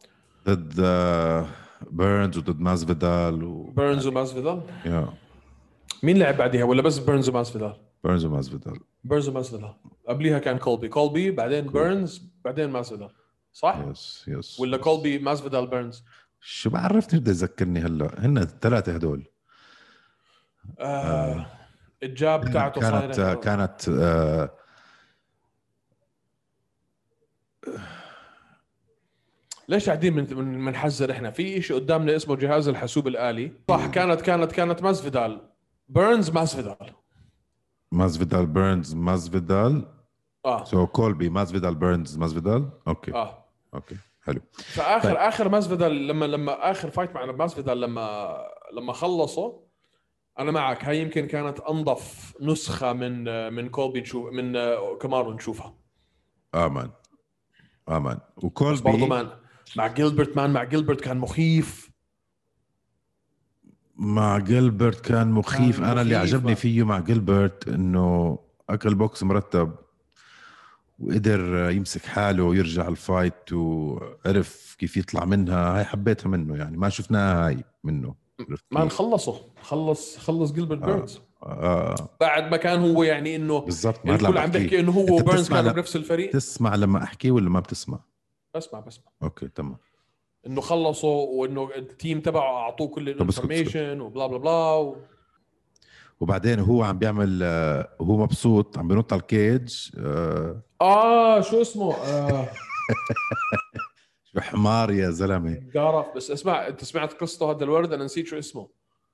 Speaker 4: ضد آه، بيرنز وضد مازفيدال و...
Speaker 3: بيرنز وماسفيدال
Speaker 4: يا
Speaker 3: مين لعب بعديها ولا بس بيرنز وماسفيدال
Speaker 4: بيرنز ومازفيدال
Speaker 3: بيرنز وماسفيدال قبليها كان كولبي كولبي بعدين بيرنز بعدين ماسفيدال صح
Speaker 4: يس يس
Speaker 3: ولا كولبي ماسفيدال بيرنز
Speaker 4: شو بعرفني بدي اذكرني هلا هن الثلاثه هدول
Speaker 3: آه. الجاب تاعته
Speaker 4: كانت
Speaker 3: صايرة.
Speaker 4: آه، كانت آه،
Speaker 3: ليش قاعدين من من- منحزر احنا في شيء قدامنا اسمه جهاز الحاسوب الالي صح كانت كانت كانت ماسفيدال بيرنز ماسفيدال
Speaker 4: مازفيدال بيرنز مازفيدال
Speaker 3: اه
Speaker 4: سو كولبي مازفيدال بيرنز مازفيدال اوكي
Speaker 3: اه
Speaker 4: اوكي حلو
Speaker 3: فاخر
Speaker 4: طيب.
Speaker 3: طيب. اخر ماسفيدال لما لما اخر فايت مع ماسفيدال لما لما خلصوا انا معك هاي يمكن كانت انظف نسخه من من كولبي نشوف من آه، كمارو نشوفها
Speaker 4: امان امان
Speaker 3: بس برضه
Speaker 4: وكولبي
Speaker 3: مان مع جيلبرت مان مع جيلبرت كان مخيف
Speaker 4: مع جيلبرت كان مخيف
Speaker 3: كان
Speaker 4: انا اللي
Speaker 3: مخيف، آه.
Speaker 4: عجبني
Speaker 3: مان.
Speaker 4: فيه مع جيلبرت انه اكل بوكس مرتب وقدر يمسك حاله ويرجع الفايت وعرف كيف يطلع منها هاي حبيتها منه يعني ما شفناها هاي منه عرفت
Speaker 3: مان
Speaker 4: كيف؟
Speaker 3: خلصوا خلص خلص جيلبرت
Speaker 4: آه.
Speaker 3: بيرنز
Speaker 4: آه آه،
Speaker 3: بعد ما كان هو يعني انه
Speaker 4: بالضبط ما هذا
Speaker 3: الكل
Speaker 4: اللي
Speaker 3: عم
Speaker 4: بحكيه.
Speaker 3: بيحكي انه هو
Speaker 4: أنت
Speaker 3: وبيرنز
Speaker 4: بتسمع
Speaker 3: كانوا
Speaker 4: لما-
Speaker 3: بنفس الفريق
Speaker 4: بتسمع لما احكي ولا ما بتسمع
Speaker 3: بسمع بسمع
Speaker 4: اوكي تمام
Speaker 3: انه خلصوا وانه التيم تبعه اعطوه كل
Speaker 4: طب اسكت، اسكت.
Speaker 3: الانفورميشن وبلا بلا بلا و...
Speaker 4: وبعدين هو عم بيعمل آه، هو مبسوط عم بينط على الكيج آه،
Speaker 3: اه شو اسمه آه
Speaker 4: شو حمار يا زلمه
Speaker 3: بعرف بس اسمع انت سمعت قصته هذا الورد انا نسيت شو اسمه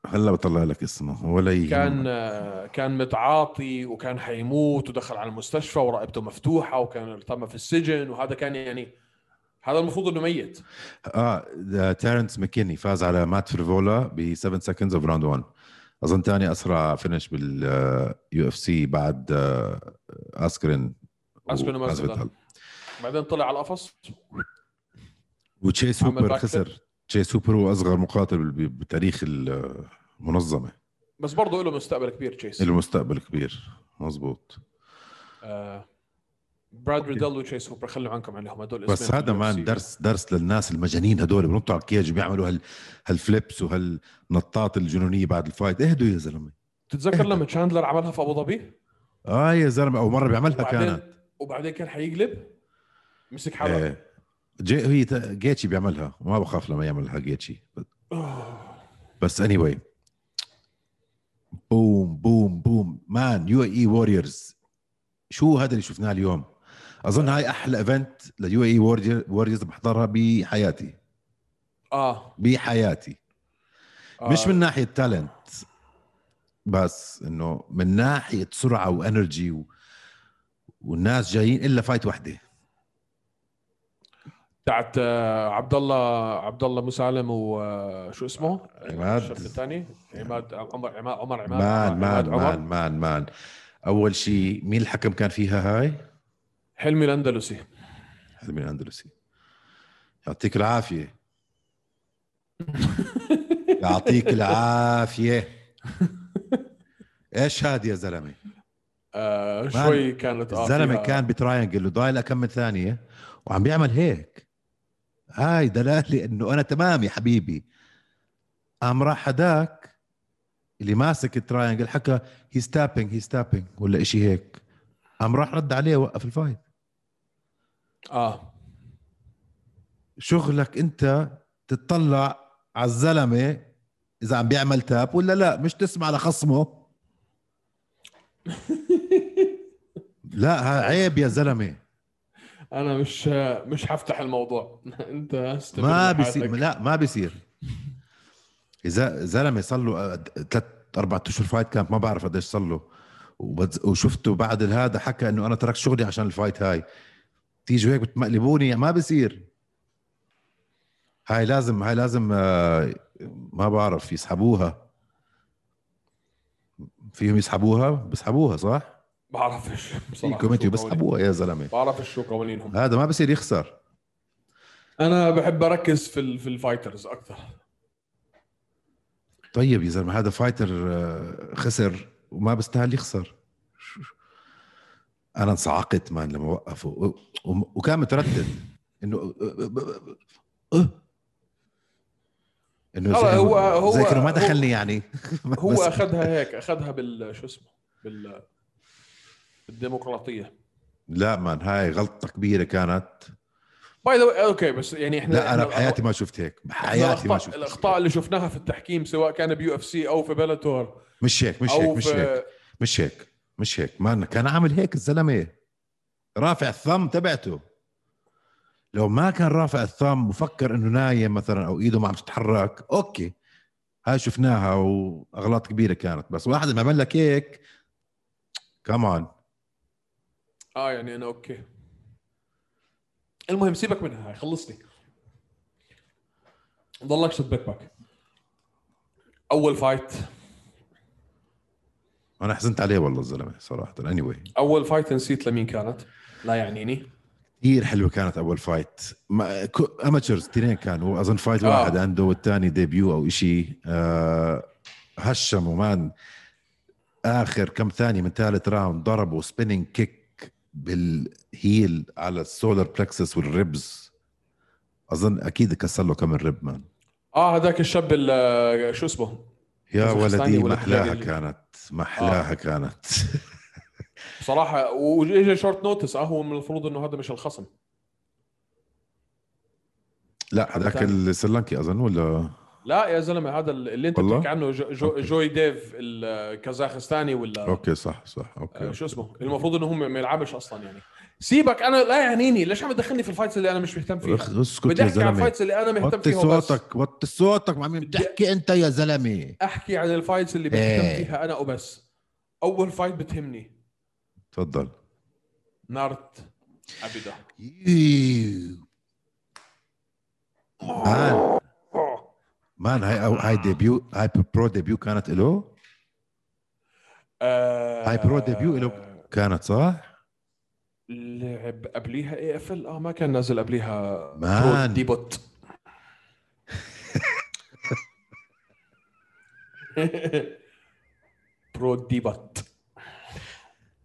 Speaker 4: هلا بطلع لك اسمه ولا يهمك.
Speaker 3: كان آه، كان متعاطي وكان حيموت ودخل على المستشفى ورقبته مفتوحه وكان ارتمى في السجن وهذا كان يعني هذا المفروض انه ميت
Speaker 4: اه ده تيرنس ماكيني فاز على مات فريفولا ب 7 سكندز اوف راوند 1 اظن ثاني اسرع فينش باليو اف سي بعد آه، اسكرين
Speaker 3: أسكرين ومازفيدال.
Speaker 4: ومازفيدال.
Speaker 3: بعدين طلع على القفص
Speaker 4: وتشيس
Speaker 3: عمل
Speaker 4: هوبر
Speaker 3: باك
Speaker 4: خسر تشيس هوبر هو اصغر مقاتل ب- بتاريخ آه، المنظمه
Speaker 3: بس برضه له مستقبل كبير تشيس
Speaker 4: المستقبل كبير مزبوط
Speaker 3: آه براد ريدل وتشيس هوبر خلوا عنكم عليهم هدول
Speaker 4: بس
Speaker 3: اسمين
Speaker 4: هذا
Speaker 3: في
Speaker 4: مان
Speaker 3: UFC.
Speaker 4: درس درس للناس المجانين هدول بنطوا على الكيج وبيعملوا هال هالفليبس وهالنطات الجنونيه بعد الفايت اهدوا يا زلمه
Speaker 3: تتذكر لما تشاندلر عملها في ابو ظبي
Speaker 4: اه يا زلمه او مره بيعملها كانت
Speaker 3: وبعدين وبعدين كان حيقلب مسك حاله
Speaker 4: آه جي هي تا- جيتشي بيعملها ما بخاف لما يعملها جيتشي بس اني anyway. بوم بوم بوم مان يو اي ووريرز E شو هذا اللي شفناه اليوم اظن هاي احلى ايفنت ليو اي ووريرز E بحضرها بحياتي
Speaker 3: اه
Speaker 4: بحياتي
Speaker 3: آه.
Speaker 4: مش من ناحيه تالنت بس انه من ناحيه سرعه وانرجي و... والناس جايين الا فايت وحده
Speaker 3: بتاعت آه، عبد الله عبد الله مسالم وشو آه، اسمه؟
Speaker 4: عماد.
Speaker 3: الشاب الثاني عماد عمر عماد عمر عماد آه،
Speaker 4: مان مان
Speaker 3: عماد
Speaker 4: مان مان مان اول شيء مين الحكم كان فيها هاي؟
Speaker 3: حلمي الاندلسي
Speaker 4: حلمي الاندلسي
Speaker 3: (laughs)
Speaker 4: يعطيك العافيه يعطيك العافيه ايش هاد يا زلمه؟
Speaker 3: آه شوي كانت آه،
Speaker 4: الزلمه
Speaker 3: فيها-
Speaker 4: كان بتراينجل وضايله كم من ثانيه وعم بيعمل هيك هاي دلاله انه انا تمام يا حبيبي قام راح هداك اللي ماسك التراينجل حكى هي ستابينج هي ستابينج ولا إشي هيك قام راح رد عليه وقف الفايت
Speaker 3: اه
Speaker 4: شغلك انت تتطلع على الزلمه اذا عم بيعمل تاب ولا لا مش تسمع لخصمه
Speaker 3: (laughs)
Speaker 4: لا ها عيب يا زلمه
Speaker 3: انا مش آه، مش حفتح الموضوع (laughs) انت استمر
Speaker 4: ما
Speaker 3: بحياتك.
Speaker 4: بيصير لا ما بيصير اذا زلمه صار له ثلاث اربع اشهر فايت كامب ما بعرف قديش صار له وبتز- وشفته بعد هذا حكى انه انا تركت شغلي عشان الفايت هاي تيجوا هيك بتمقلبوني ما بيصير هاي لازم هاي لازم آه، ما بعرف يسحبوها فيهم يسحبوها بسحبوها صح؟
Speaker 3: بعرفش بصراحه
Speaker 4: فيكم
Speaker 3: شو
Speaker 4: انتوا
Speaker 3: قوانين-
Speaker 4: بسحبوها يا زلمه
Speaker 3: بعرفش شو قوانينهم
Speaker 4: هذا ما بصير يخسر
Speaker 3: انا بحب اركز في ال- في الفايترز اكثر
Speaker 4: طيب يا زلمه هذا فايتر آه، خسر وما بيستاهل يخسر شو- شو- انا انصعقت مان لما وقفوا و- و- وكان متردد انه آه، آه، آه، آه، انه
Speaker 3: خلص،
Speaker 4: زي-
Speaker 3: هو- هو-
Speaker 4: زي كانه ما
Speaker 3: هو-
Speaker 4: دخلني يعني (laughs)
Speaker 3: هو
Speaker 4: بس-
Speaker 3: اخذها هيك اخذها بال شو اسمه بال بالديمقراطيه
Speaker 4: لا مان هاي غلطه كبيره كانت
Speaker 3: باي ذا اوكي بس يعني احنا
Speaker 4: لا انا
Speaker 3: إحنا-
Speaker 4: بحياتي ما شفت هيك
Speaker 3: إحنا
Speaker 4: بحياتي ما
Speaker 3: الأخطاء-
Speaker 4: شفت
Speaker 3: الاخطاء اللي شفناها في التحكيم سواء كان بيو اف سي او في بلاتور
Speaker 4: مش هيك مش هيك
Speaker 3: او
Speaker 4: مش
Speaker 3: في
Speaker 4: هيك مش هيك مش هيك ما كان عامل هيك الزلمه رافع الثم تبعته لو ما كان رافع الثم وفكر انه نايم مثلا او ايده ما عم تتحرك اوكي هاي شفناها واغلاط كبيره كانت بس واحد ما عمل لك هيك كمان
Speaker 3: اه يعني انا اوكي المهم سيبك منها هاي خلصني ضلك شد باك باك اول فايت
Speaker 4: انا حزنت عليه والله الزلمه صراحه اني anyway.
Speaker 3: اول فايت نسيت لمين كانت لا يعنيني
Speaker 4: كثير حلوه كانت اول فايت ما ك- اماتشرز اثنين كانوا اظن فايت
Speaker 3: آه.
Speaker 4: واحد عنده والثاني ديبيو او شيء آه هشموا مان اخر كم ثانيه من ثالث راوند ضربوا سبيننج كيك بالهيل على السولار بلكسس والريبز اظن اكيد كسر له كم ريب مان
Speaker 3: اه هذاك الشاب ال- شو اسمه
Speaker 4: يا
Speaker 3: كازاخستاني
Speaker 4: ولدي
Speaker 3: ولا آه.
Speaker 4: محلاها
Speaker 3: تجاري.
Speaker 4: كانت محلاها كانت
Speaker 3: بصراحه واجى شورت نوتس اه هو من المفروض انه هذا مش الخصم
Speaker 4: لا هذاك
Speaker 3: الثاني.
Speaker 4: السريلانكي اظن ولا
Speaker 3: لا يا زلمه هذا اللي انت
Speaker 4: والله؟
Speaker 3: بتحكي عنه جو جو جوي ديف الكازاخستاني ولا
Speaker 4: اوكي صح صح اوكي,
Speaker 3: آه، شو اسمه المفروض انه هم ما يلعبش اصلا يعني سيبك انا لا يعنيني ليش عم تدخلني في الفايتس اللي انا مش مهتم فيها
Speaker 4: أخ- اسكت
Speaker 3: بدي
Speaker 4: يا
Speaker 3: احكي عن
Speaker 4: زلمه
Speaker 3: الفايتس اللي انا مهتم
Speaker 4: وطي
Speaker 3: فيها وبس
Speaker 4: صوتك وطي صوتك مع مين بتحكي انت يا زلمه
Speaker 3: احكي عن الفايتس اللي مهتم
Speaker 5: إيه.
Speaker 3: فيها انا وبس اول فايت بتهمني
Speaker 4: تفضل
Speaker 3: نارت ابدا
Speaker 4: مان مان هاي أو هاي ديبيو هاي برو ديبيو كانت له
Speaker 3: آه،
Speaker 4: هاي برو ديبيو له كانت صح؟
Speaker 3: لعب قبليها اي اف ال اه ما كان نازل قبليها
Speaker 4: مان.
Speaker 3: برو
Speaker 4: (laughs)
Speaker 3: ديبوت برو ديبوت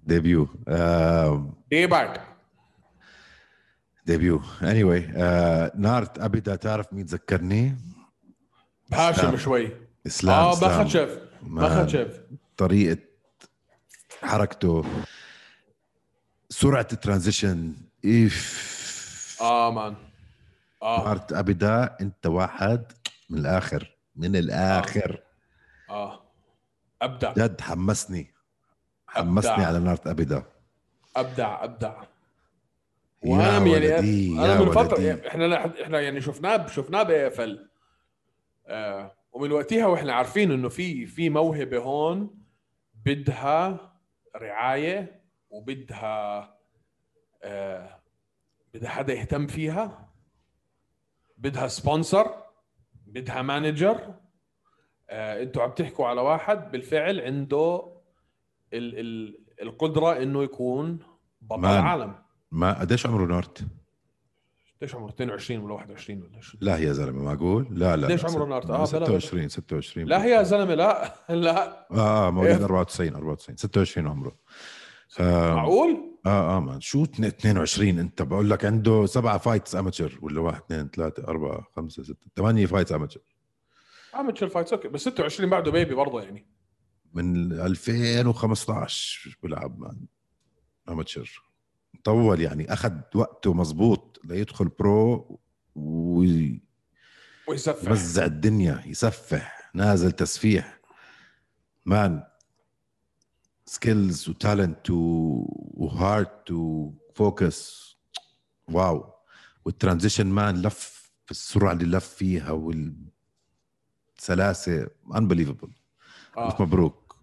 Speaker 4: ديبيو آم،
Speaker 3: ديبك
Speaker 4: ديبيو اني واي آه، نارت ابدا تعرف مين ذكرني؟
Speaker 3: هاشم
Speaker 4: سلام.
Speaker 3: شوي
Speaker 4: اسلام
Speaker 3: اه
Speaker 4: إسلام.
Speaker 3: بخشف
Speaker 4: مان.
Speaker 3: بخشف
Speaker 4: طريقه حركته سرعه الترانزيشن اف
Speaker 3: اه مان اه
Speaker 4: ارت ابدا انت واحد من الاخر من الاخر
Speaker 3: اه ابدع
Speaker 4: جد حمسني حمسني
Speaker 3: أبدع.
Speaker 4: على نارت ابدا
Speaker 3: ابدع ابدع
Speaker 4: يا
Speaker 3: وانا
Speaker 4: ولدي،
Speaker 3: يعني انا
Speaker 4: يا
Speaker 3: من فتره
Speaker 4: ولدي.
Speaker 3: يعني احنا لا- احنا يعني شفناه شفناه باي اف ال آه، ومن وقتها واحنا عارفين انه في في موهبه هون بدها رعايه وبدها آه، بدها حدا يهتم فيها بدها سبونسر بدها مانجر آه، انتوا عم تحكوا على واحد بالفعل عنده ال ال القدره انه يكون بطل
Speaker 4: مان.
Speaker 3: العالم
Speaker 4: ما قديش عمره نارت؟
Speaker 3: ليش عمره 22 ولا 21 ولا شو
Speaker 4: لا يا زلمه معقول؟ لا لا
Speaker 3: قديش
Speaker 4: لا،
Speaker 3: عمره
Speaker 4: ست-
Speaker 3: نارت؟ آه، بلا-
Speaker 4: 26 26
Speaker 3: لا يا زلمه لا لا
Speaker 4: اه اه مواليد
Speaker 3: إيه.
Speaker 4: 94 94 26 عمره آه.
Speaker 3: معقول
Speaker 4: اه اه مان شو اتنين- 22 انت بقول لك عنده سبعه فايتس اماتشر ولا واحد اثنين ثلاثه اربعه خمسه سته ثمانيه فايتس اماتشر
Speaker 3: عامل تشيل فايتس اوكي بس 26 بعده بيبي برضه يعني
Speaker 4: من 2015 بلعب مان اماتشر طول يعني اخذ وقته مزبوط ليدخل برو ويوزع
Speaker 3: ويسفح
Speaker 4: الدنيا يسفح نازل تسفيح مان سكيلز وتالنت وهارت وفوكس واو والترانزيشن مان لف في السرعه اللي لف فيها والسلاسه unbelievable
Speaker 3: آه.
Speaker 4: الف مبروك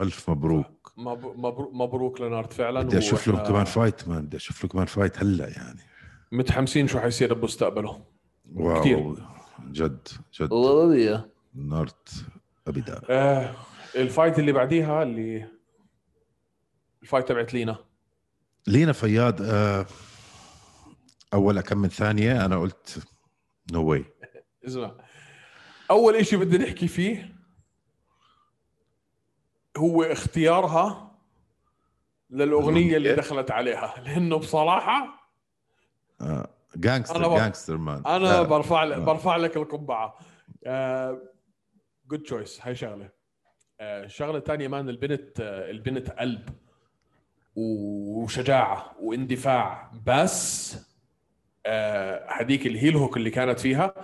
Speaker 4: الف مبروك
Speaker 3: مب- مبرو- مبروك لنارد فعلا
Speaker 4: بدي اشوف له
Speaker 3: وإحنا
Speaker 4: كمان فايت مان بدي اشوف له كمان فايت هلا يعني
Speaker 3: متحمسين شو حيصير بمستقبله
Speaker 4: واو
Speaker 3: كتير.
Speaker 4: جد جد نارت ابدا
Speaker 3: آه الفايت اللي بعديها اللي الفايت تبعت لينا
Speaker 4: لينا فياض آه، اول كم من ثانيه انا قلت نو واي
Speaker 3: اسمع اول إشي بدنا نحكي فيه هو اختيارها للاغنيه اللي
Speaker 4: الأغنية؟
Speaker 3: دخلت عليها لانه بصراحه
Speaker 4: جانكستر
Speaker 3: أنا بر-
Speaker 4: جانكستر مان
Speaker 3: انا برفع لك برفع لك القبعه جود تشويس هاي شغله آه، الشغله الثانيه مان البنت آه، البنت قلب وشجاعه واندفاع بس آه، هذيك الهيل هوك اللي كانت فيها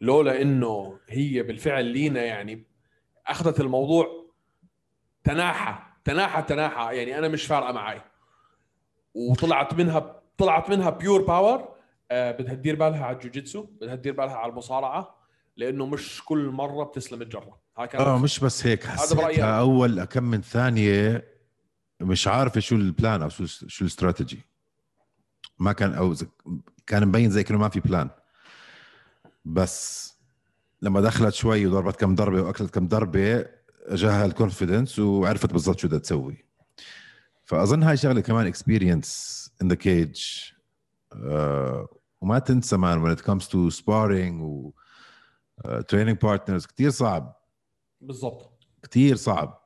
Speaker 3: لولا انه هي بالفعل لينا يعني اخذت الموضوع تناحى تناحى تناحى يعني انا مش فارقه معي وطلعت منها طلعت منها بيور باور آه، بدها تدير بالها على الجوجيتسو بدها تدير بالها على المصارعه لانه مش كل مره بتسلم الجره هاي كانت
Speaker 4: اه مش بس هيك
Speaker 3: برأيي أنا.
Speaker 4: حسيتها اول كم من ثانيه مش عارفه شو البلان او شو شو الاستراتيجي ما كان او ز- كان مبين زي كانه ما في بلان بس لما دخلت شوي وضربت كم ضربه واكلت كم ضربه جاها الكونفدنس وعرفت بالضبط شو بدها تسوي فاظن هاي شغله كمان اكسبيرينس ان ذا كيج آه، وما تنسى مان when it comes to sparring و uh, training partners كثير صعب
Speaker 3: بالضبط
Speaker 4: كتير صعب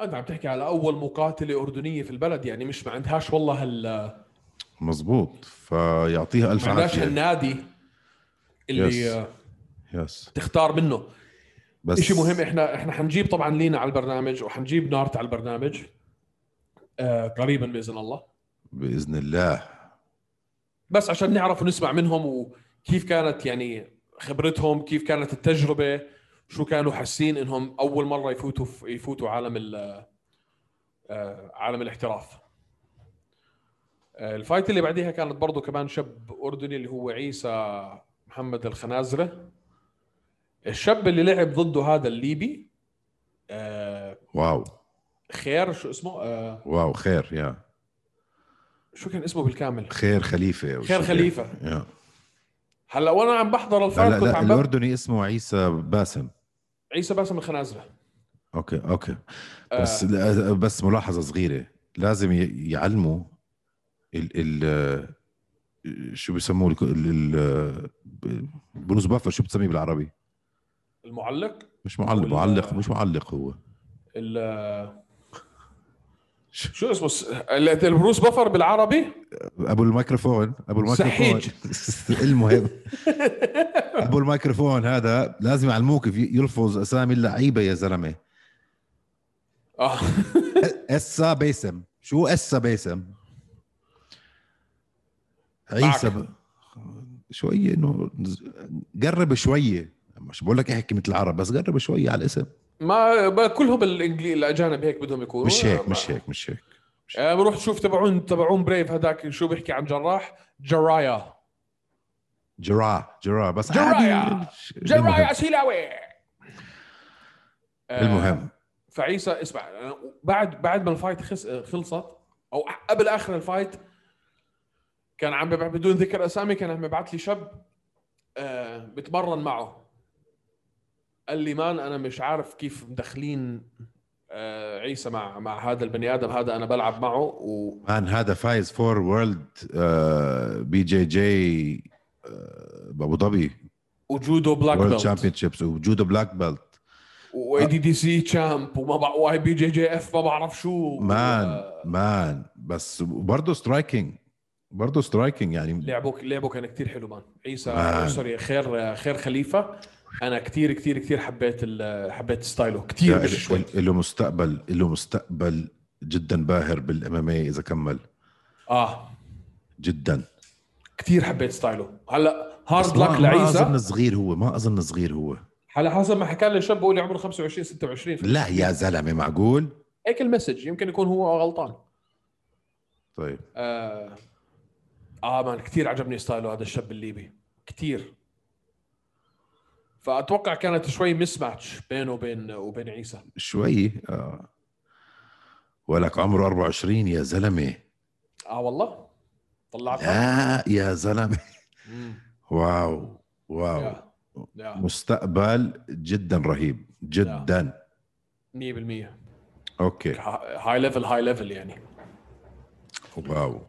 Speaker 3: انت عم تحكي على اول مقاتله اردنيه في البلد يعني مش ما عندهاش والله هال
Speaker 4: مزبوط فيعطيها الف
Speaker 3: ما عندهاش
Speaker 4: عافيه
Speaker 3: النادي
Speaker 4: Yes.
Speaker 3: اللي
Speaker 4: يس
Speaker 3: تختار منه
Speaker 4: بس
Speaker 3: شيء مهم احنا احنا حنجيب طبعا لينا على البرنامج وحنجيب نارت على البرنامج آه قريبا باذن الله
Speaker 4: باذن الله
Speaker 3: بس عشان نعرف ونسمع منهم وكيف كانت يعني خبرتهم كيف كانت التجربه شو كانوا حاسين انهم اول مره يفوتوا يفوتوا عالم ال- آه، عالم الاحتراف آه، الفايت اللي بعديها كانت برضو كمان شاب اردني اللي هو عيسى محمد الخنازره الشاب اللي لعب ضده هذا الليبي آه،
Speaker 4: واو
Speaker 3: خير شو اسمه آه،
Speaker 4: واو خير يا
Speaker 3: شو كان اسمه بالكامل
Speaker 4: خير خليفه أو
Speaker 3: خير
Speaker 4: شو
Speaker 3: خليفه
Speaker 4: هيك. يا
Speaker 3: هلا وانا عم بحضر
Speaker 4: لا
Speaker 3: الفايت
Speaker 4: لا,
Speaker 3: كنت
Speaker 4: لا
Speaker 3: عم بب-
Speaker 4: الاردني اسمه عيسى باسم
Speaker 3: عيسى باسم الخنازره
Speaker 4: اوكي اوكي
Speaker 3: آه.
Speaker 4: بس لا- بس ملاحظه صغيره لازم ي- يعلموا ال ال شو بسموه الك- ال ال بونوس بافر شو بتسميه بالعربي؟
Speaker 3: المعلق
Speaker 4: مش معلق
Speaker 3: وال-
Speaker 4: معلق مش معلق هو
Speaker 3: ال شو اسمه الس- ال- البروس بفر بالعربي
Speaker 4: ابو الميكروفون ابو الميكروفون
Speaker 3: سحيج.
Speaker 4: (laughs) المهم ابو الميكروفون هذا لازم يعلموك يف- يلفظ اسامي اللعيبه يا زلمه
Speaker 3: اه
Speaker 4: اسا باسم شو اسا باسم عيسى ب... شويه انه قرب شويه مش بقول لك احكي مثل العرب بس قرب شويه على الاسم
Speaker 3: ما ما كلهم الانجلي الاجانب هيك بدهم يكونوا
Speaker 4: مش هيك مش هيك مش هيك
Speaker 3: آه، بروح تشوف تبعون تبعون بريف هذاك شو بيحكي عن جراح جرايا
Speaker 4: جراح جراح بس
Speaker 3: جرايا.
Speaker 4: عادي.
Speaker 3: جرايا
Speaker 4: المهم,
Speaker 3: سيلاوي آه،
Speaker 4: المهم.
Speaker 3: فعيسى اسمع أنا بعد بعد ما الفايت خس- خلصت او قبل اخر الفايت كان عم ببع- بدون ذكر اسامي كان عم يبعث لي شاب آه، بتمرن معه قال لي مان انا مش عارف كيف مدخلين آه، عيسى مع مع هذا البني ادم هذا انا بلعب معه و
Speaker 4: مان هذا فايز فور وورلد آه، بي جي جي آه، بابو ظبي
Speaker 3: وجودو بلاك
Speaker 4: وورلد
Speaker 3: بيلت
Speaker 4: تشامبيون شيبس وجودو بلاك بيلت
Speaker 3: واي دي دي سي تشامب وما بع- واي بي جي جي اف ما بعرف شو
Speaker 4: مان مان بس برضه سترايكينج برضه سترايكينج يعني
Speaker 3: لعبه لعبه كان كتير حلو مان عيسى
Speaker 4: مان.
Speaker 3: سوري خير خير خليفه انا كتير كتير كتير حبيت ال- حبيت ستايله كتير مش شوي
Speaker 4: له مستقبل له مستقبل جدا باهر بالام ام اي اذا كمل
Speaker 3: اه
Speaker 4: جدا
Speaker 3: كتير حبيت ستايله هلا
Speaker 4: بس
Speaker 3: هارد
Speaker 4: ما-
Speaker 3: لك
Speaker 4: ما اظن
Speaker 3: لعيسى
Speaker 4: صغير هو ما اظن صغير هو
Speaker 3: على حسب ما حكى لي الشاب بقول لي عمره 25 26
Speaker 4: لا يا زلمه معقول
Speaker 3: هيك المسج يمكن يكون هو غلطان
Speaker 4: طيب
Speaker 3: اه, آه مان كتير عجبني ستايله هذا الشاب الليبي كتير فاتوقع كانت شوي مس ماتش بينه وبين وبين عيسى
Speaker 4: شوي آه. ولك عمره 24 يا زلمه
Speaker 3: اه والله طلعتها
Speaker 4: لا آه، يا زلمه
Speaker 3: مم.
Speaker 4: واو واو
Speaker 3: يا. يا.
Speaker 4: مستقبل جدا رهيب جدا
Speaker 3: 100%
Speaker 4: اوكي
Speaker 3: هاي ليفل هاي ليفل يعني
Speaker 4: واو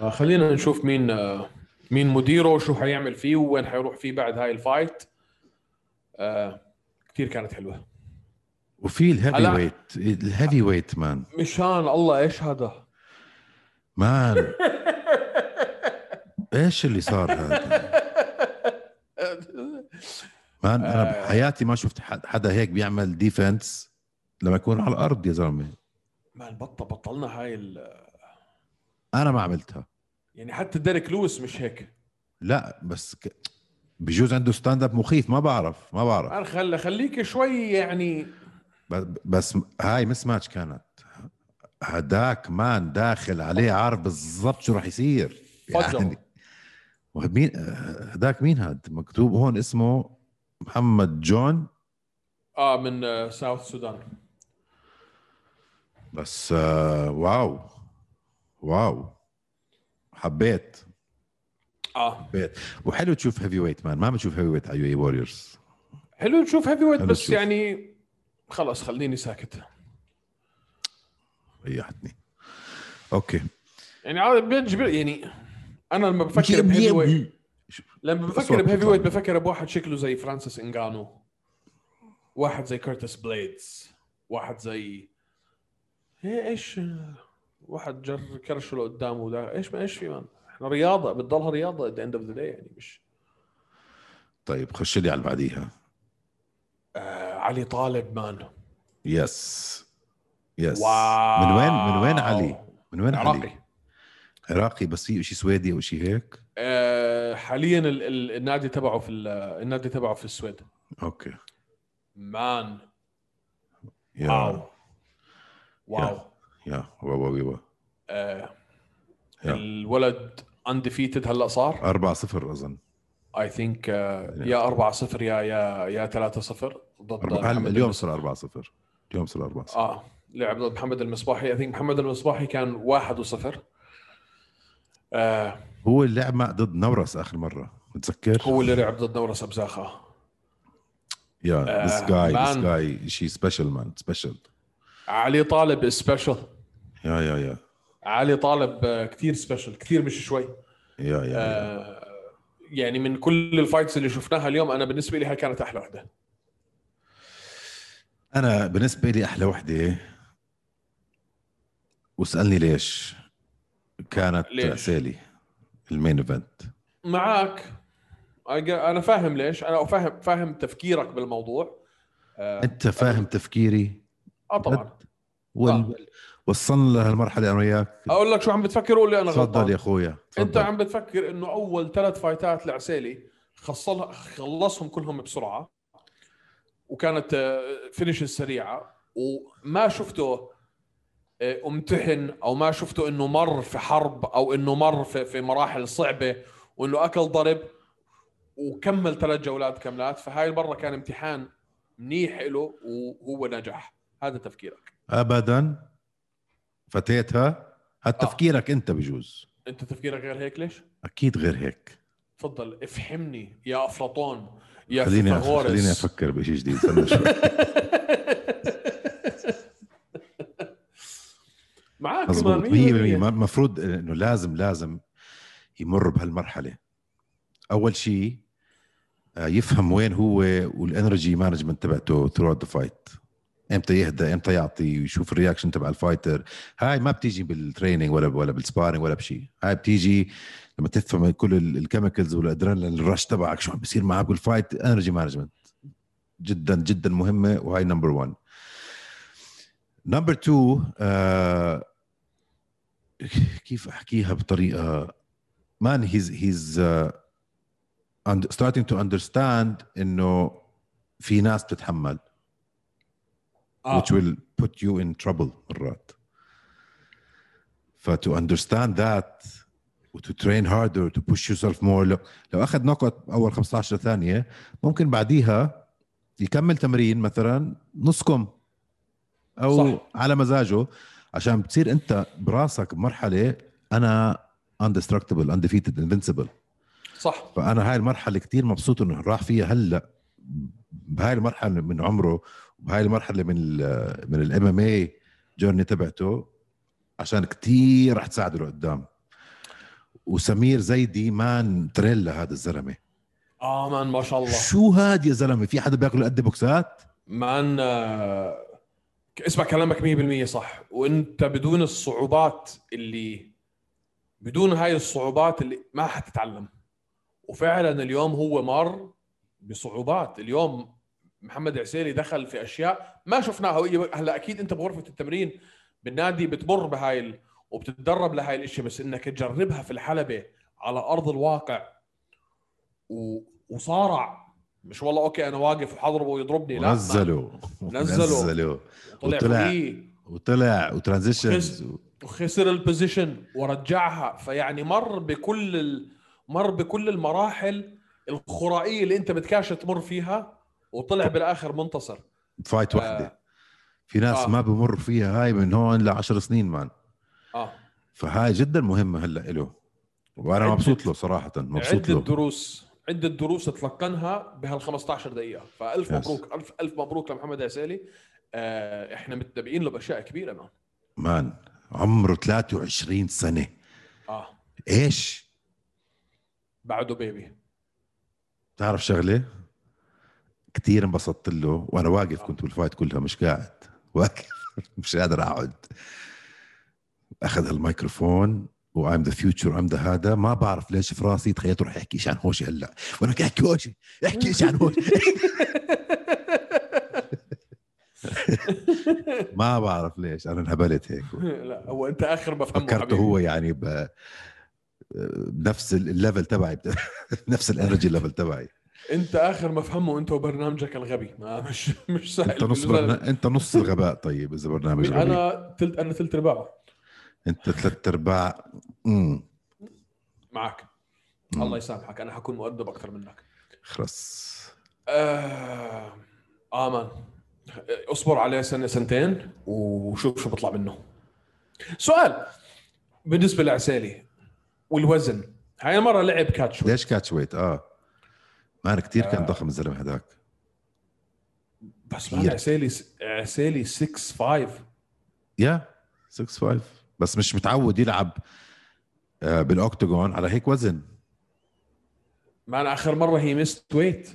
Speaker 3: آه، خلينا نشوف مين آه، مين مديره وشو حيعمل فيه ووين حيروح فيه بعد هاي الفايت آه، كتير كانت حلوه
Speaker 4: وفي الهيفي
Speaker 3: هلا-
Speaker 4: ويت الهيفي ويت مان
Speaker 3: مشان الله ايش هذا (laughs)
Speaker 4: مان ايش اللي صار هذا مان انا
Speaker 3: آه.
Speaker 4: بحياتي ما شفت حد- حدا هيك بيعمل ديفنس لما يكون على الارض يا زلمه
Speaker 3: ما البطه بطلنا هاي ال...
Speaker 4: انا ما عملتها
Speaker 3: يعني حتى ديريك لويس مش هيك
Speaker 4: لا بس ك... بجوز عنده ستاند اب مخيف ما بعرف ما بعرف
Speaker 3: أنا خل... خليك شوي يعني
Speaker 4: ب- بس هاي مس ماتش كانت هداك مان داخل عليه عارف بالضبط شو راح يصير
Speaker 3: فجر.
Speaker 4: ومين هداك مين هاد مكتوب هون اسمه محمد جون
Speaker 3: اه من آه، ساوث السودان
Speaker 4: بس آه واو واو حبيت
Speaker 3: اه
Speaker 4: حبيت وحلو تشوف هيفي ويت مان ما بنشوف هيفي ويت على E يو اي ووريرز
Speaker 3: حلو نشوف هيفي ويت
Speaker 4: حلو
Speaker 3: بس
Speaker 4: نشوف.
Speaker 3: يعني خلص خليني ساكت
Speaker 4: ريحتني اوكي
Speaker 3: يعني عاد بيج- يعني انا لما بفكر بهيفي ويت لما بفكر
Speaker 4: أصوات
Speaker 3: بهيفي
Speaker 4: بتطلع.
Speaker 3: ويت بفكر بواحد شكله زي فرانسيس انغانو واحد زي كورتس بليدز واحد زي إيه ايش واحد جر كرشه لقدامه ده ايش ما ايش في مان احنا رياضه بتضلها رياضه at the end of the day يعني مش
Speaker 4: طيب خش لي على اللي بعديها
Speaker 3: آه علي طالب مان
Speaker 4: يس يس
Speaker 3: واو.
Speaker 4: من وين من وين علي؟ من وين
Speaker 3: عراقي
Speaker 4: علي؟ عراقي بس في شيء سويدي او شيء هيك
Speaker 3: آه حاليا ال- ال- النادي تبعه في ال- النادي تبعه في السويد
Speaker 4: اوكي
Speaker 3: مان
Speaker 4: يا
Speaker 3: واو واو
Speaker 4: يا. يا واو واو واو
Speaker 3: آه
Speaker 4: يا.
Speaker 3: الولد انديفيتد هلا صار
Speaker 4: 4 0 اظن
Speaker 3: اي ثينك يا 4 0 يا يا يا 3 0 ضد
Speaker 4: أربعة- هلا
Speaker 3: محمد
Speaker 4: اليوم
Speaker 3: المس-
Speaker 4: صار 4 0 اليوم صار 4 0
Speaker 3: اه لعب ضد محمد المصباحي اي ثينك محمد المصباحي كان 1 0 آه
Speaker 4: هو اللي لعب مع ضد نورس اخر مره متذكر؟
Speaker 3: هو اللي لعب ضد نورس ابزاخه
Speaker 4: يا ذس جاي ذس
Speaker 3: آه، man.
Speaker 4: جاي شي سبيشال مان سبيشال
Speaker 3: علي طالب سبيشل
Speaker 4: يا يا يا
Speaker 3: علي طالب آه، كثير سبيشل كثير مش شوي
Speaker 4: يا يا
Speaker 3: آه يعني من كل الفايتس اللي شفناها اليوم انا بالنسبه لي هاي كانت احلى وحده
Speaker 4: انا بالنسبه لي احلى وحده واسالني ليش كانت
Speaker 3: ليش؟
Speaker 4: سالي المين ايفنت
Speaker 3: معك انا فاهم ليش انا فاهم فاهم تفكيرك بالموضوع آه
Speaker 4: انت فاهم تفكيري
Speaker 3: آه، طبعا
Speaker 4: بد- وال...
Speaker 3: آه.
Speaker 4: وصلنا لهالمرحله انا وياك
Speaker 3: اقول لك شو عم بتفكر وقول لي انا
Speaker 4: تفضل
Speaker 3: غلطان
Speaker 4: يا اخويا
Speaker 3: انت
Speaker 4: تفضل.
Speaker 3: عم بتفكر انه اول ثلاث فايتات لعسيلي خلصها خلصهم كلهم بسرعه وكانت فينش سريعه وما شفته آه، امتحن او ما شفته انه مر في حرب او انه مر في, في مراحل صعبه وانه اكل ضرب وكمل ثلاث جولات كاملات فهاي المره كان امتحان منيح له وهو نجح هذا تفكيرك
Speaker 4: ابدا فتيتها هالتفكيرك انت بجوز
Speaker 3: انت تفكيرك غير هيك ليش؟
Speaker 4: اكيد غير هيك
Speaker 3: تفضل افحمني يا افلاطون يا
Speaker 4: خليني أف...
Speaker 3: فيثاغورس
Speaker 4: خليني افكر بشيء جديد استنى
Speaker 3: (laughs)
Speaker 4: شوي
Speaker 3: معاك إيه؟
Speaker 4: مضبوط 100%
Speaker 3: كمان 100%
Speaker 4: المفروض انه لازم لازم يمر بهالمرحله اول شيء آه، يفهم وين هو والانرجي مانجمنت تبعته ثرو ذا فايت امتى يهدى امتى يعطي ويشوف الرياكشن تبع الفايتر هاي ما بتيجي بالتريننج ولا ولا بالسبارينج ولا بشيء هاي بتيجي لما تفهم كل ال- الكيميكلز والادرينالين الرش تبعك شو عم بيصير معك بالفايت انرجي مانجمنت جدا جدا مهمه وهاي نمبر 1 نمبر 2 كيف احكيها بطريقه مان هيز هيز ستارتنج تو اندرستاند انه في ناس بتتحمل
Speaker 3: آه.
Speaker 4: which will put you in trouble مرات ف to understand that و to train harder to push yourself more لو, لو اخذ نوك أوت اول 15 ثانيه ممكن بعديها يكمل تمرين مثلا نص كم او
Speaker 3: صح.
Speaker 4: صح. على مزاجه عشان بتصير انت براسك بمرحله انا undestructible undefeated invincible
Speaker 3: صح
Speaker 4: فانا هاي المرحله كتير مبسوط انه راح فيها هلا بهاي المرحله من عمره وبهاي المرحله من ال من الام ام اي جيرني تبعته عشان كتير رح تساعده لقدام وسمير زيدي مان تريلا هذا الزلمه
Speaker 3: اه مان ما شاء الله
Speaker 4: شو هاد يا زلمه في حدا بياكل قد بوكسات
Speaker 3: مان آه، اسمع كلامك 100% صح وانت بدون الصعوبات اللي بدون هاي الصعوبات اللي ما حتتعلم وفعلا اليوم هو مر بصعوبات اليوم محمد عسيلي دخل في اشياء ما شفناها وهي- هلا اكيد انت بغرفه التمرين بالنادي بتمر بهاي ال... وبتتدرب لهاي الاشياء بس انك تجربها في الحلبه على ارض الواقع و... وصارع مش والله اوكي انا واقف وحضربه ويضربني لا
Speaker 4: نزلوا
Speaker 3: نزلوا.
Speaker 4: نزلوا
Speaker 3: طلع
Speaker 4: وطلع.
Speaker 3: فوقيه
Speaker 4: وطلع وترانزيشنز
Speaker 3: وخز- وخسر البوزيشن ورجعها فيعني مر بكل ال... مر بكل المراحل الخرائيه اللي انت بتكاش تمر فيها وطلع بالاخر منتصر
Speaker 4: فايت
Speaker 3: آه.
Speaker 4: وحده في ناس
Speaker 3: آه.
Speaker 4: ما بمر فيها هاي من هون لعشر سنين مان
Speaker 3: اه
Speaker 4: فهاي جدا مهمه هلا له وانا
Speaker 3: عدة-
Speaker 4: مبسوط له صراحه مبسوط
Speaker 3: عده
Speaker 4: له
Speaker 3: دروس عده دروس تلقنها بهال 15 دقيقه فالف
Speaker 4: Yes.
Speaker 3: مبروك الف الف مبروك لمحمد عسالي آه احنا متنبئين له باشياء كبيره مان
Speaker 4: مان عمره 23 سنه
Speaker 3: اه
Speaker 4: ايش
Speaker 3: بعده بيبي
Speaker 4: تعرف شغله كثير انبسطت له وانا واقف كنت بالفايت كلها مش قاعد واقف (laughs) مش قادر اقعد اخذ هالميكروفون وايم ذا فيوتشر ام ذا هذا ما بعرف ليش في راسي تخيلته رح يحكي شيء عن هوشي هلا وانا بدي احكي هوشي احكي شيء عن هوشي (laughs) ما بعرف ليش انا انهبلت هيك
Speaker 3: لا هو انت اخر بفهمه
Speaker 4: فكرته
Speaker 3: حبيبي
Speaker 4: هو يعني ب... بنفس الليفل تبعي (laughs) بنفس الانرجي ليفل تبعي
Speaker 3: انت اخر ما فهمه انت وبرنامجك الغبي ما مش مش سهل (laughs)
Speaker 4: انت نص برنا... انت نص الغباء طيب اذا برنامج غبي
Speaker 3: انا تلت انا ثلث ارباعه
Speaker 4: انت ثلاث ارباع امم
Speaker 3: معك
Speaker 4: مم.
Speaker 3: الله يسامحك انا حكون مؤدب اكثر منك
Speaker 4: خلص
Speaker 3: آه... امان اصبر عليه سنه سنتين وشوف شو بطلع منه سؤال بالنسبه لعسالي والوزن هاي المره لعب كاتش
Speaker 4: ليش كاتش ويت اه مان كثير كان
Speaker 3: آه.
Speaker 4: ضخم الزلمه هذاك
Speaker 3: بس ما عسالي عسالي 6 5
Speaker 4: يا 6 5 بس مش متعود يلعب آه، بالاوكتاجون على هيك وزن
Speaker 3: ما انا اخر مره هي ميست ويت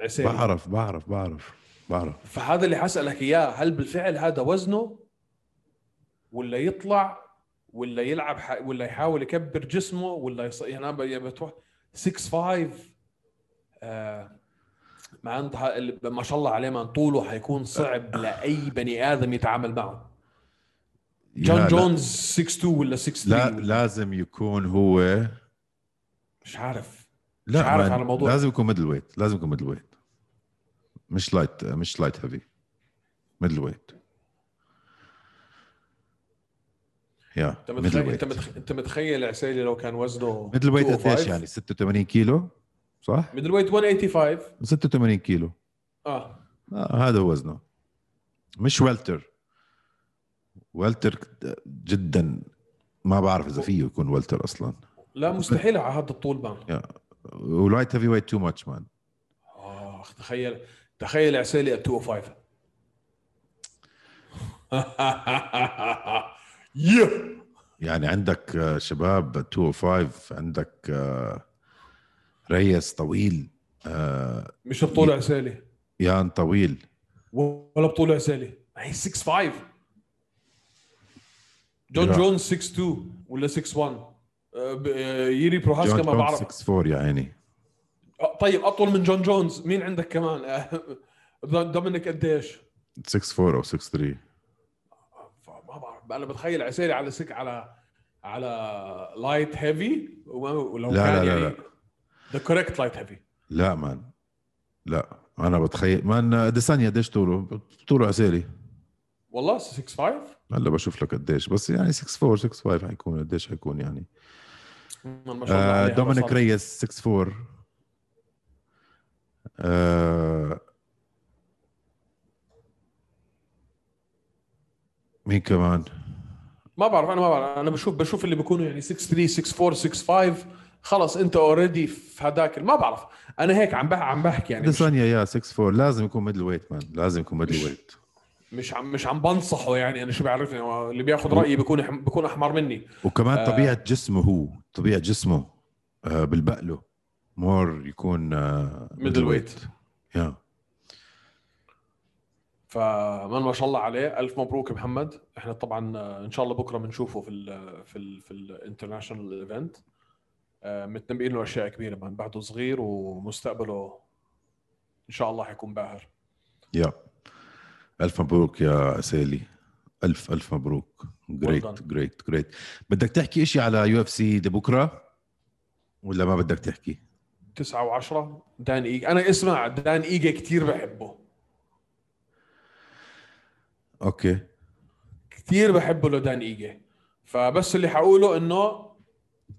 Speaker 3: عسالي
Speaker 4: بعرف بعرف بعرف بعرف
Speaker 3: فهذا اللي حسألك اياه هل بالفعل هذا وزنه ولا يطلع ولا يلعب ح... ولا يحاول يكبر جسمه ولا يص... يعني أنا ب- بتوح 6 5 آه... مع أنت ه- ال- ما شاء الله عليه من طوله حيكون صعب لاي بني ادم يتعامل معه
Speaker 4: لا،
Speaker 3: جون
Speaker 4: لا.
Speaker 3: جونز 6 2 ولا 6
Speaker 4: لا
Speaker 3: 3
Speaker 4: لازم يكون هو
Speaker 3: مش عارف
Speaker 4: لا
Speaker 3: عارف
Speaker 4: مان،
Speaker 3: على الموضوع.
Speaker 4: لازم يكون ميدل ويت لازم يكون ميدل ويت مش لايت مش لايت هيفي ميدل ويت يا
Speaker 3: انت
Speaker 4: ميدل
Speaker 3: متخيل
Speaker 4: ويت
Speaker 3: انت, متخ... انت متخيل عسيلي لو كان وزنه
Speaker 4: ميدل ويت قديش
Speaker 3: 205
Speaker 4: يعني 86 كيلو صح؟
Speaker 3: ميدل ويت 185
Speaker 4: 86 كيلو
Speaker 3: اه
Speaker 4: آه هذا هو وزنه مش والتر والتر جدا ما بعرف اذا فيه يكون والتر اصلا
Speaker 3: لا مستحيل على هذا الطول بان
Speaker 4: ولايت هيفي ويت تو ماتش مان
Speaker 3: اخ تخيل تخيل عسيلي اب (laughs) 205 يه
Speaker 4: يعني عندك آه، شباب 205 عندك آه، ريس طويل آه،
Speaker 3: مش بطول عسيلي
Speaker 4: يان طويل
Speaker 3: ولا بطول عسيلي هي 6 5 جون
Speaker 4: لا.
Speaker 3: جون 6 2 ولا 6 1 أه، ب- أه، ييري بروهاسكا
Speaker 4: جون
Speaker 3: ما
Speaker 4: جون
Speaker 3: بعرف
Speaker 4: 6 يا عيني
Speaker 3: أه، طيب اطول من جون جونز مين عندك كمان (laughs) أه، دومينيك قديش
Speaker 4: 6 4 او 6 3
Speaker 3: ما بعرف انا بتخيل عسيري على سك على على لايت هيفي ولو
Speaker 4: لا،
Speaker 3: كان
Speaker 4: لا، لا،
Speaker 3: يعني
Speaker 4: لا.
Speaker 3: ذا كوريكت لايت هيفي
Speaker 4: لا مان لا انا بتخيل مان آه، ديسانيا قديش طوله؟ طوله عسيري
Speaker 3: والله 6 5
Speaker 4: هلا بشوف لك قديش بس يعني 6 4 6 5 حيكون قديش حيكون يعني
Speaker 3: ما شاء الله
Speaker 4: آه
Speaker 3: عليه، هذا
Speaker 4: دومينيك
Speaker 3: صار-
Speaker 4: ريس 6 4 آه مين كمان؟
Speaker 3: ما بعرف انا ما بعرف انا بشوف بشوف اللي بيكونوا يعني 6 3 6 4 6 5 خلص انت اوريدي في هذاك ما بعرف انا هيك عم بح عم بحكي يعني مش
Speaker 4: ديسانيا يا 6 4 لازم يكون ميدل ويت مان لازم يكون ميدل ويت
Speaker 3: مش عم مش عم بنصحه يعني انا شو بعرفني هو اللي بياخذ رايي بيكون أح- بيكون احمر مني
Speaker 4: وكمان
Speaker 3: آه.
Speaker 4: طبيعه جسمه هو طبيعه جسمه آه بالبقله مور يكون آه
Speaker 3: ميدل ويت
Speaker 4: يا
Speaker 3: فمن ما شاء الله عليه الف مبروك محمد احنا طبعا آه، ان شاء الله بكره بنشوفه في ال آه، في ال آه، في الانترناشونال ايفنت متنبئين له اشياء كبيره من بعده صغير ومستقبله ان شاء الله حيكون باهر
Speaker 4: يا الف مبروك يا سالي الف الف مبروك جريت
Speaker 3: done.
Speaker 4: جريت جريت بدك تحكي إشي على يو اف سي لبكره ولا ما بدك تحكي
Speaker 3: تسعة و10 دان ايجا انا اسمع دان ايجا كثير بحبه
Speaker 4: اوكي
Speaker 3: كثير بحبه لدان ايجا فبس اللي حقوله انه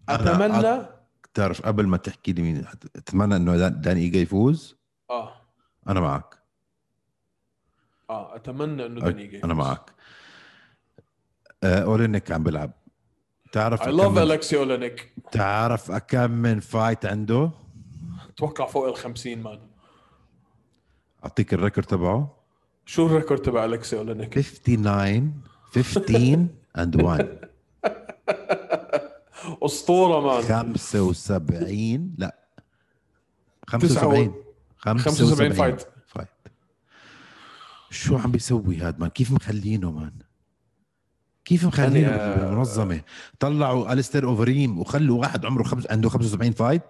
Speaker 3: اتمنى
Speaker 4: بتعرف قبل ما تحكي لي مين حت- اتمنى انه دان- داني ايجا يفوز
Speaker 3: اه
Speaker 4: انا معك
Speaker 3: اه اتمنى انه دان ايجا
Speaker 4: انا معك آه، اولينيك عم بيلعب تعرف
Speaker 3: اي
Speaker 4: كم
Speaker 3: لاف
Speaker 4: من-
Speaker 3: الكسي اولينيك
Speaker 4: تعرف كم من فايت عنده
Speaker 3: اتوقع فوق ال 50 مان
Speaker 4: اعطيك الريكورد تبعه
Speaker 3: شو الريكورد تبع الكسي اولينيك
Speaker 4: 59 15 and 1
Speaker 3: اسطوره مان
Speaker 4: 75 لا
Speaker 3: تسعة
Speaker 4: 75
Speaker 3: 75 فايت.
Speaker 4: فايت شو عم بيسوي هاد مان كيف مخلينه مان كيف مخلينه
Speaker 3: أنا- آه،
Speaker 4: بالمنظمه طلعوا الستر اوفريم وخلوا واحد عمره خمس عنده 75 فايت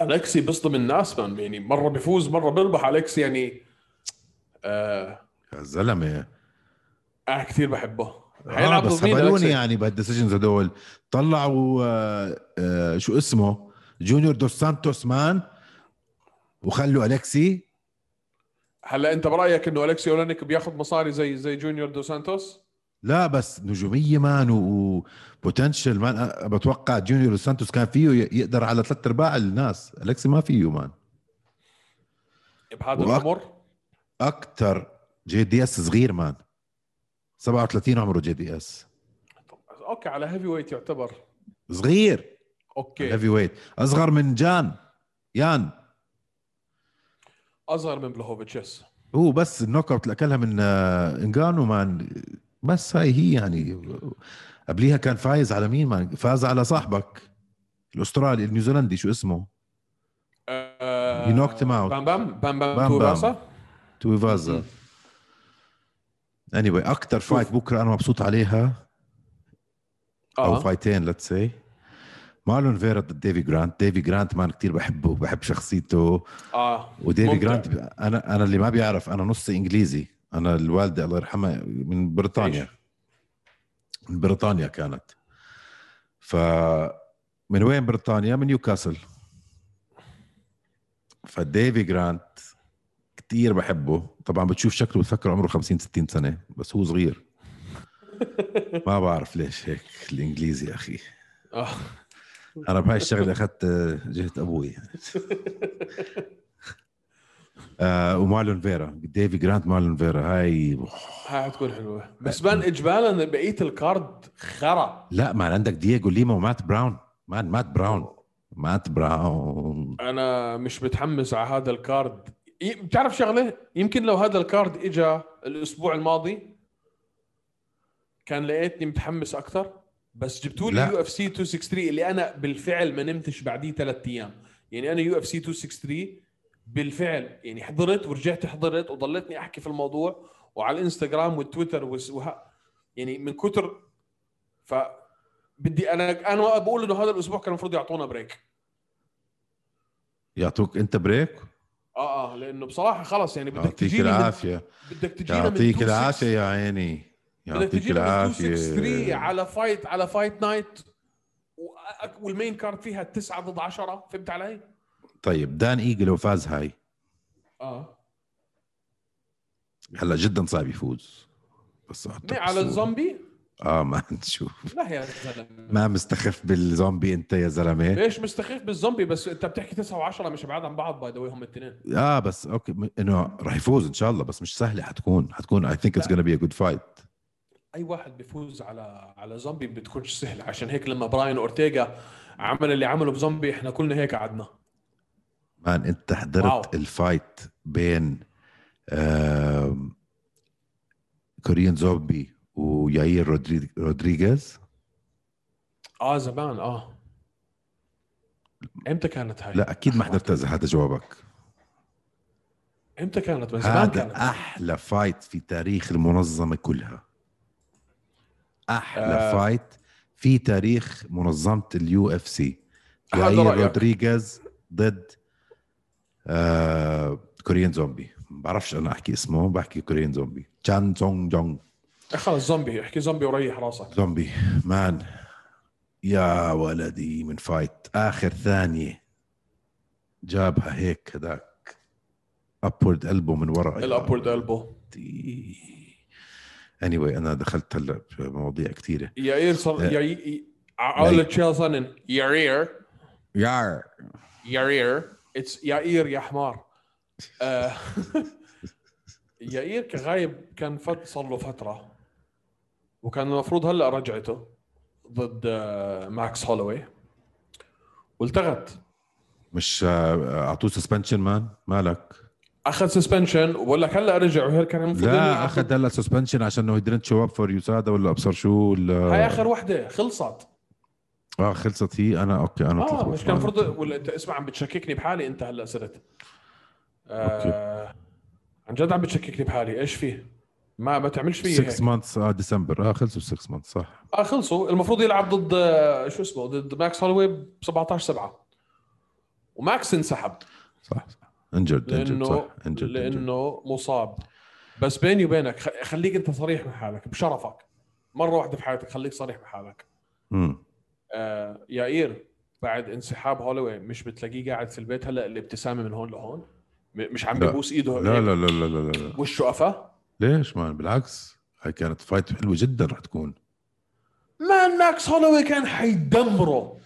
Speaker 3: الكسي بيصدم الناس مان يعني مره بيفوز مره بيربح الكسي يعني آه
Speaker 4: يا زلمه
Speaker 3: انا كثير بحبه
Speaker 4: آه
Speaker 3: حيلعب
Speaker 4: بس
Speaker 3: ضد مين
Speaker 4: خبروني
Speaker 3: أليكسي؟
Speaker 4: يعني بهالديسيجنز هدول طلعوا آه آه شو اسمه جونيور دوس سانتوس مان وخلوا الكسي
Speaker 3: هلا انت برايك انه الكسي اولينيك بياخذ مصاري زي زي جونيور دو سانتوس
Speaker 4: لا بس نجوميه مان وبوتنشل مان أ- بتوقع جونيور دوس سانتوس كان فيه ي- يقدر على ثلاث ارباع الناس الكسي ما فيه مان
Speaker 3: بهذا
Speaker 4: وأك-
Speaker 3: العمر
Speaker 4: اكثر جي دي اس صغير مان 37 عمره جي دي اس
Speaker 3: اوكي على هيفي ويت يعتبر
Speaker 4: صغير
Speaker 3: اوكي
Speaker 4: هيفي ويت اصغر من جان يان
Speaker 3: اصغر من بلوهوفيتش يس
Speaker 4: هو بس النوك اوت اللي اكلها من آه، انجانو مان بس هاي هي يعني قبليها كان فايز على مين مان فاز على صاحبك الاسترالي النيوزيلندي شو اسمه He knocked him
Speaker 3: آه،
Speaker 4: out.
Speaker 3: بام بام بام
Speaker 4: بام
Speaker 3: بام تو
Speaker 4: بام.
Speaker 3: راسه
Speaker 4: تويفازا اني anyway, اكثر فايت بكره انا مبسوط عليها او
Speaker 3: اه
Speaker 4: فايتين ليتس سي مارلون فيرا ضد ديفي جرانت ديفي جرانت مان كتير بحبه بحب شخصيته
Speaker 3: اه
Speaker 4: وديفي
Speaker 3: ممتع.
Speaker 4: جرانت انا انا اللي ما بيعرف انا نص انجليزي انا الوالده الله يرحمها من بريطانيا
Speaker 3: إيش؟
Speaker 4: من بريطانيا كانت ف من وين بريطانيا؟ من نيوكاسل فديفي جرانت كتير بحبه طبعا بتشوف شكله بتفكر عمره 50 60 سنه بس
Speaker 3: (laughs)
Speaker 4: هو صغير ما بعرف ليش هيك الانجليزي اخي
Speaker 3: آه.
Speaker 4: انا بهاي الشغله اخذت جهه ابوي
Speaker 3: (laughs)
Speaker 4: آه ومارلون فيرا ديفي جرانت مارلون فيرا هاي
Speaker 3: هاي حتكون حلوه بس بان اجمالا بقيه الكارد خرا
Speaker 4: لا ما عندك دييغو ليما ومات براون مان مات براون مات براون
Speaker 3: انا مش متحمس على هذا الكارد ي- بتعرف شغله يمكن لو هذا الكارد اجى الاسبوع الماضي كان لقيتني متحمس اكثر بس جبتوا لي
Speaker 4: لا.
Speaker 3: يو اف سي 263 اللي انا بالفعل ما نمتش بعديه ثلاث ايام يعني انا يو اف سي 263 بالفعل يعني حضرت ورجعت حضرت وضليتني احكي في الموضوع وعلى الانستغرام والتويتر وس- وه... يعني من كتر ف بدي انا انا بقول انه هذا الاسبوع كان المفروض يعطونا بريك
Speaker 4: يعطوك انت بريك
Speaker 3: اه اه لانه بصراحه خلص يعني بدك
Speaker 4: يعطيك
Speaker 3: تجيني من
Speaker 4: العافيه
Speaker 3: بدك تجينا من
Speaker 4: يعطيك
Speaker 3: 26
Speaker 4: العافيه يا عيني
Speaker 3: بدك
Speaker 4: يعطيك
Speaker 3: تجينا من 263
Speaker 4: العافيه
Speaker 3: على فايت على فايت نايت وأك- والمين كارد فيها 9 ضد 10 فهمت علي؟
Speaker 4: طيب دان ايجل لو فاز هاي
Speaker 3: اه
Speaker 4: هلا جدا صعب يفوز بس أعطيك
Speaker 3: على
Speaker 4: الصورة.
Speaker 3: الزومبي
Speaker 4: اه ما نشوف
Speaker 3: لا يا زلمه
Speaker 4: ما مستخف بالزومبي انت يا زلمه
Speaker 3: ليش مستخف بالزومبي بس انت بتحكي 9 و10 مش بعاد عن بعض باي ذا هم الاثنين
Speaker 4: اه بس اوكي م- انه رح يفوز ان شاء الله بس مش سهله حتكون حتكون اي ثينك اتس
Speaker 3: لا.
Speaker 4: gonna بي ا جود فايت
Speaker 3: اي واحد بيفوز على على زومبي بتكونش سهله عشان هيك لما براين اورتيغا عمل اللي عمله بزومبي احنا كلنا هيك قعدنا
Speaker 4: مان انت حضرت
Speaker 3: واو.
Speaker 4: الفايت بين آم، كوريين زومبي وياير رودريج- رودريغيز
Speaker 3: اه زمان اه امتى كانت هاي؟
Speaker 4: لا اكيد ما حضرتها اذا هذا جوابك
Speaker 3: امتى كانت؟ من زمان
Speaker 4: هذا
Speaker 3: كانت
Speaker 4: احلى فايت في تاريخ المنظمه كلها احلى آه.
Speaker 3: آه.
Speaker 4: فايت في تاريخ منظمه اليو اف سي
Speaker 3: هذا
Speaker 4: جاير
Speaker 3: رأيك.
Speaker 4: رودريغيز ضد آه كوريان زومبي ما بعرفش انا احكي اسمه بحكي كوريان زومبي تشان سونج جونج
Speaker 3: خلص زومبي احكي زومبي وريح راسك
Speaker 4: زومبي مان يا ولدي من فايت اخر ثانيه جابها هيك هذاك ابورد قلبه من ورا
Speaker 3: الابورد البو
Speaker 4: اني anyway, انا دخلت هلا بمواضيع كثيره
Speaker 3: يا
Speaker 4: إيه.
Speaker 3: صار يا ي- اقول تشيل صنن يارير
Speaker 6: يار
Speaker 3: يارير اتس يائير يا حمار آه، (laughs) يائير كان غايب كان فت صار له فتره وكان المفروض هلا رجعته ضد آه، ماكس هولوي والتغت
Speaker 4: مش آه، اعطوه سسبنشن مان مالك
Speaker 3: اخذ سسبنشن وبقول لك هلا رجع وهي كان المفروض إنه
Speaker 4: لا
Speaker 3: يأخذ-
Speaker 4: اخذ هلا سسبنشن عشان انه didn't شو اب فور يوسادا ولا ابصر شو ولا
Speaker 3: هاي اخر وحده خلصت
Speaker 4: اه خلصت هي انا اوكي انا
Speaker 3: اه
Speaker 4: اتلخبطت.
Speaker 3: مش كان المفروض ولا انت اسمع عم بتشككني بحالي انت هلا صرت آه عن جد عم بتشككني بحالي ايش فيه؟ ما ما تعملش فيي
Speaker 4: 6
Speaker 3: هيك
Speaker 4: مانثس اه ديسمبر اه خلصوا 6 مانثس صح
Speaker 3: آه خلصوا المفروض يلعب ضد آه، شو اسمه ضد ماكس هولوي ب 17 7 وماكس انسحب
Speaker 4: صح صح انجرد انجرد
Speaker 3: لانه
Speaker 4: صح انجرد
Speaker 3: لانه مصاب بس بيني وبينك خ- خليك انت صريح مع حالك بشرفك مره واحده بحياتك خليك صريح مع حالك
Speaker 4: امم
Speaker 3: آه يائير بعد انسحاب هولوي مش بتلاقيه قاعد في البيت هلا الابتسامه من هون لهون م- مش عم
Speaker 4: لا.
Speaker 3: ببوس ايده
Speaker 4: لا
Speaker 3: هيك
Speaker 4: لا لا لا لا, لا.
Speaker 3: وشه قفا
Speaker 4: ليش مان بالعكس هاي كانت فايت حلوه جدا رح تكون
Speaker 3: مان ماكس هولوي كان حيدمره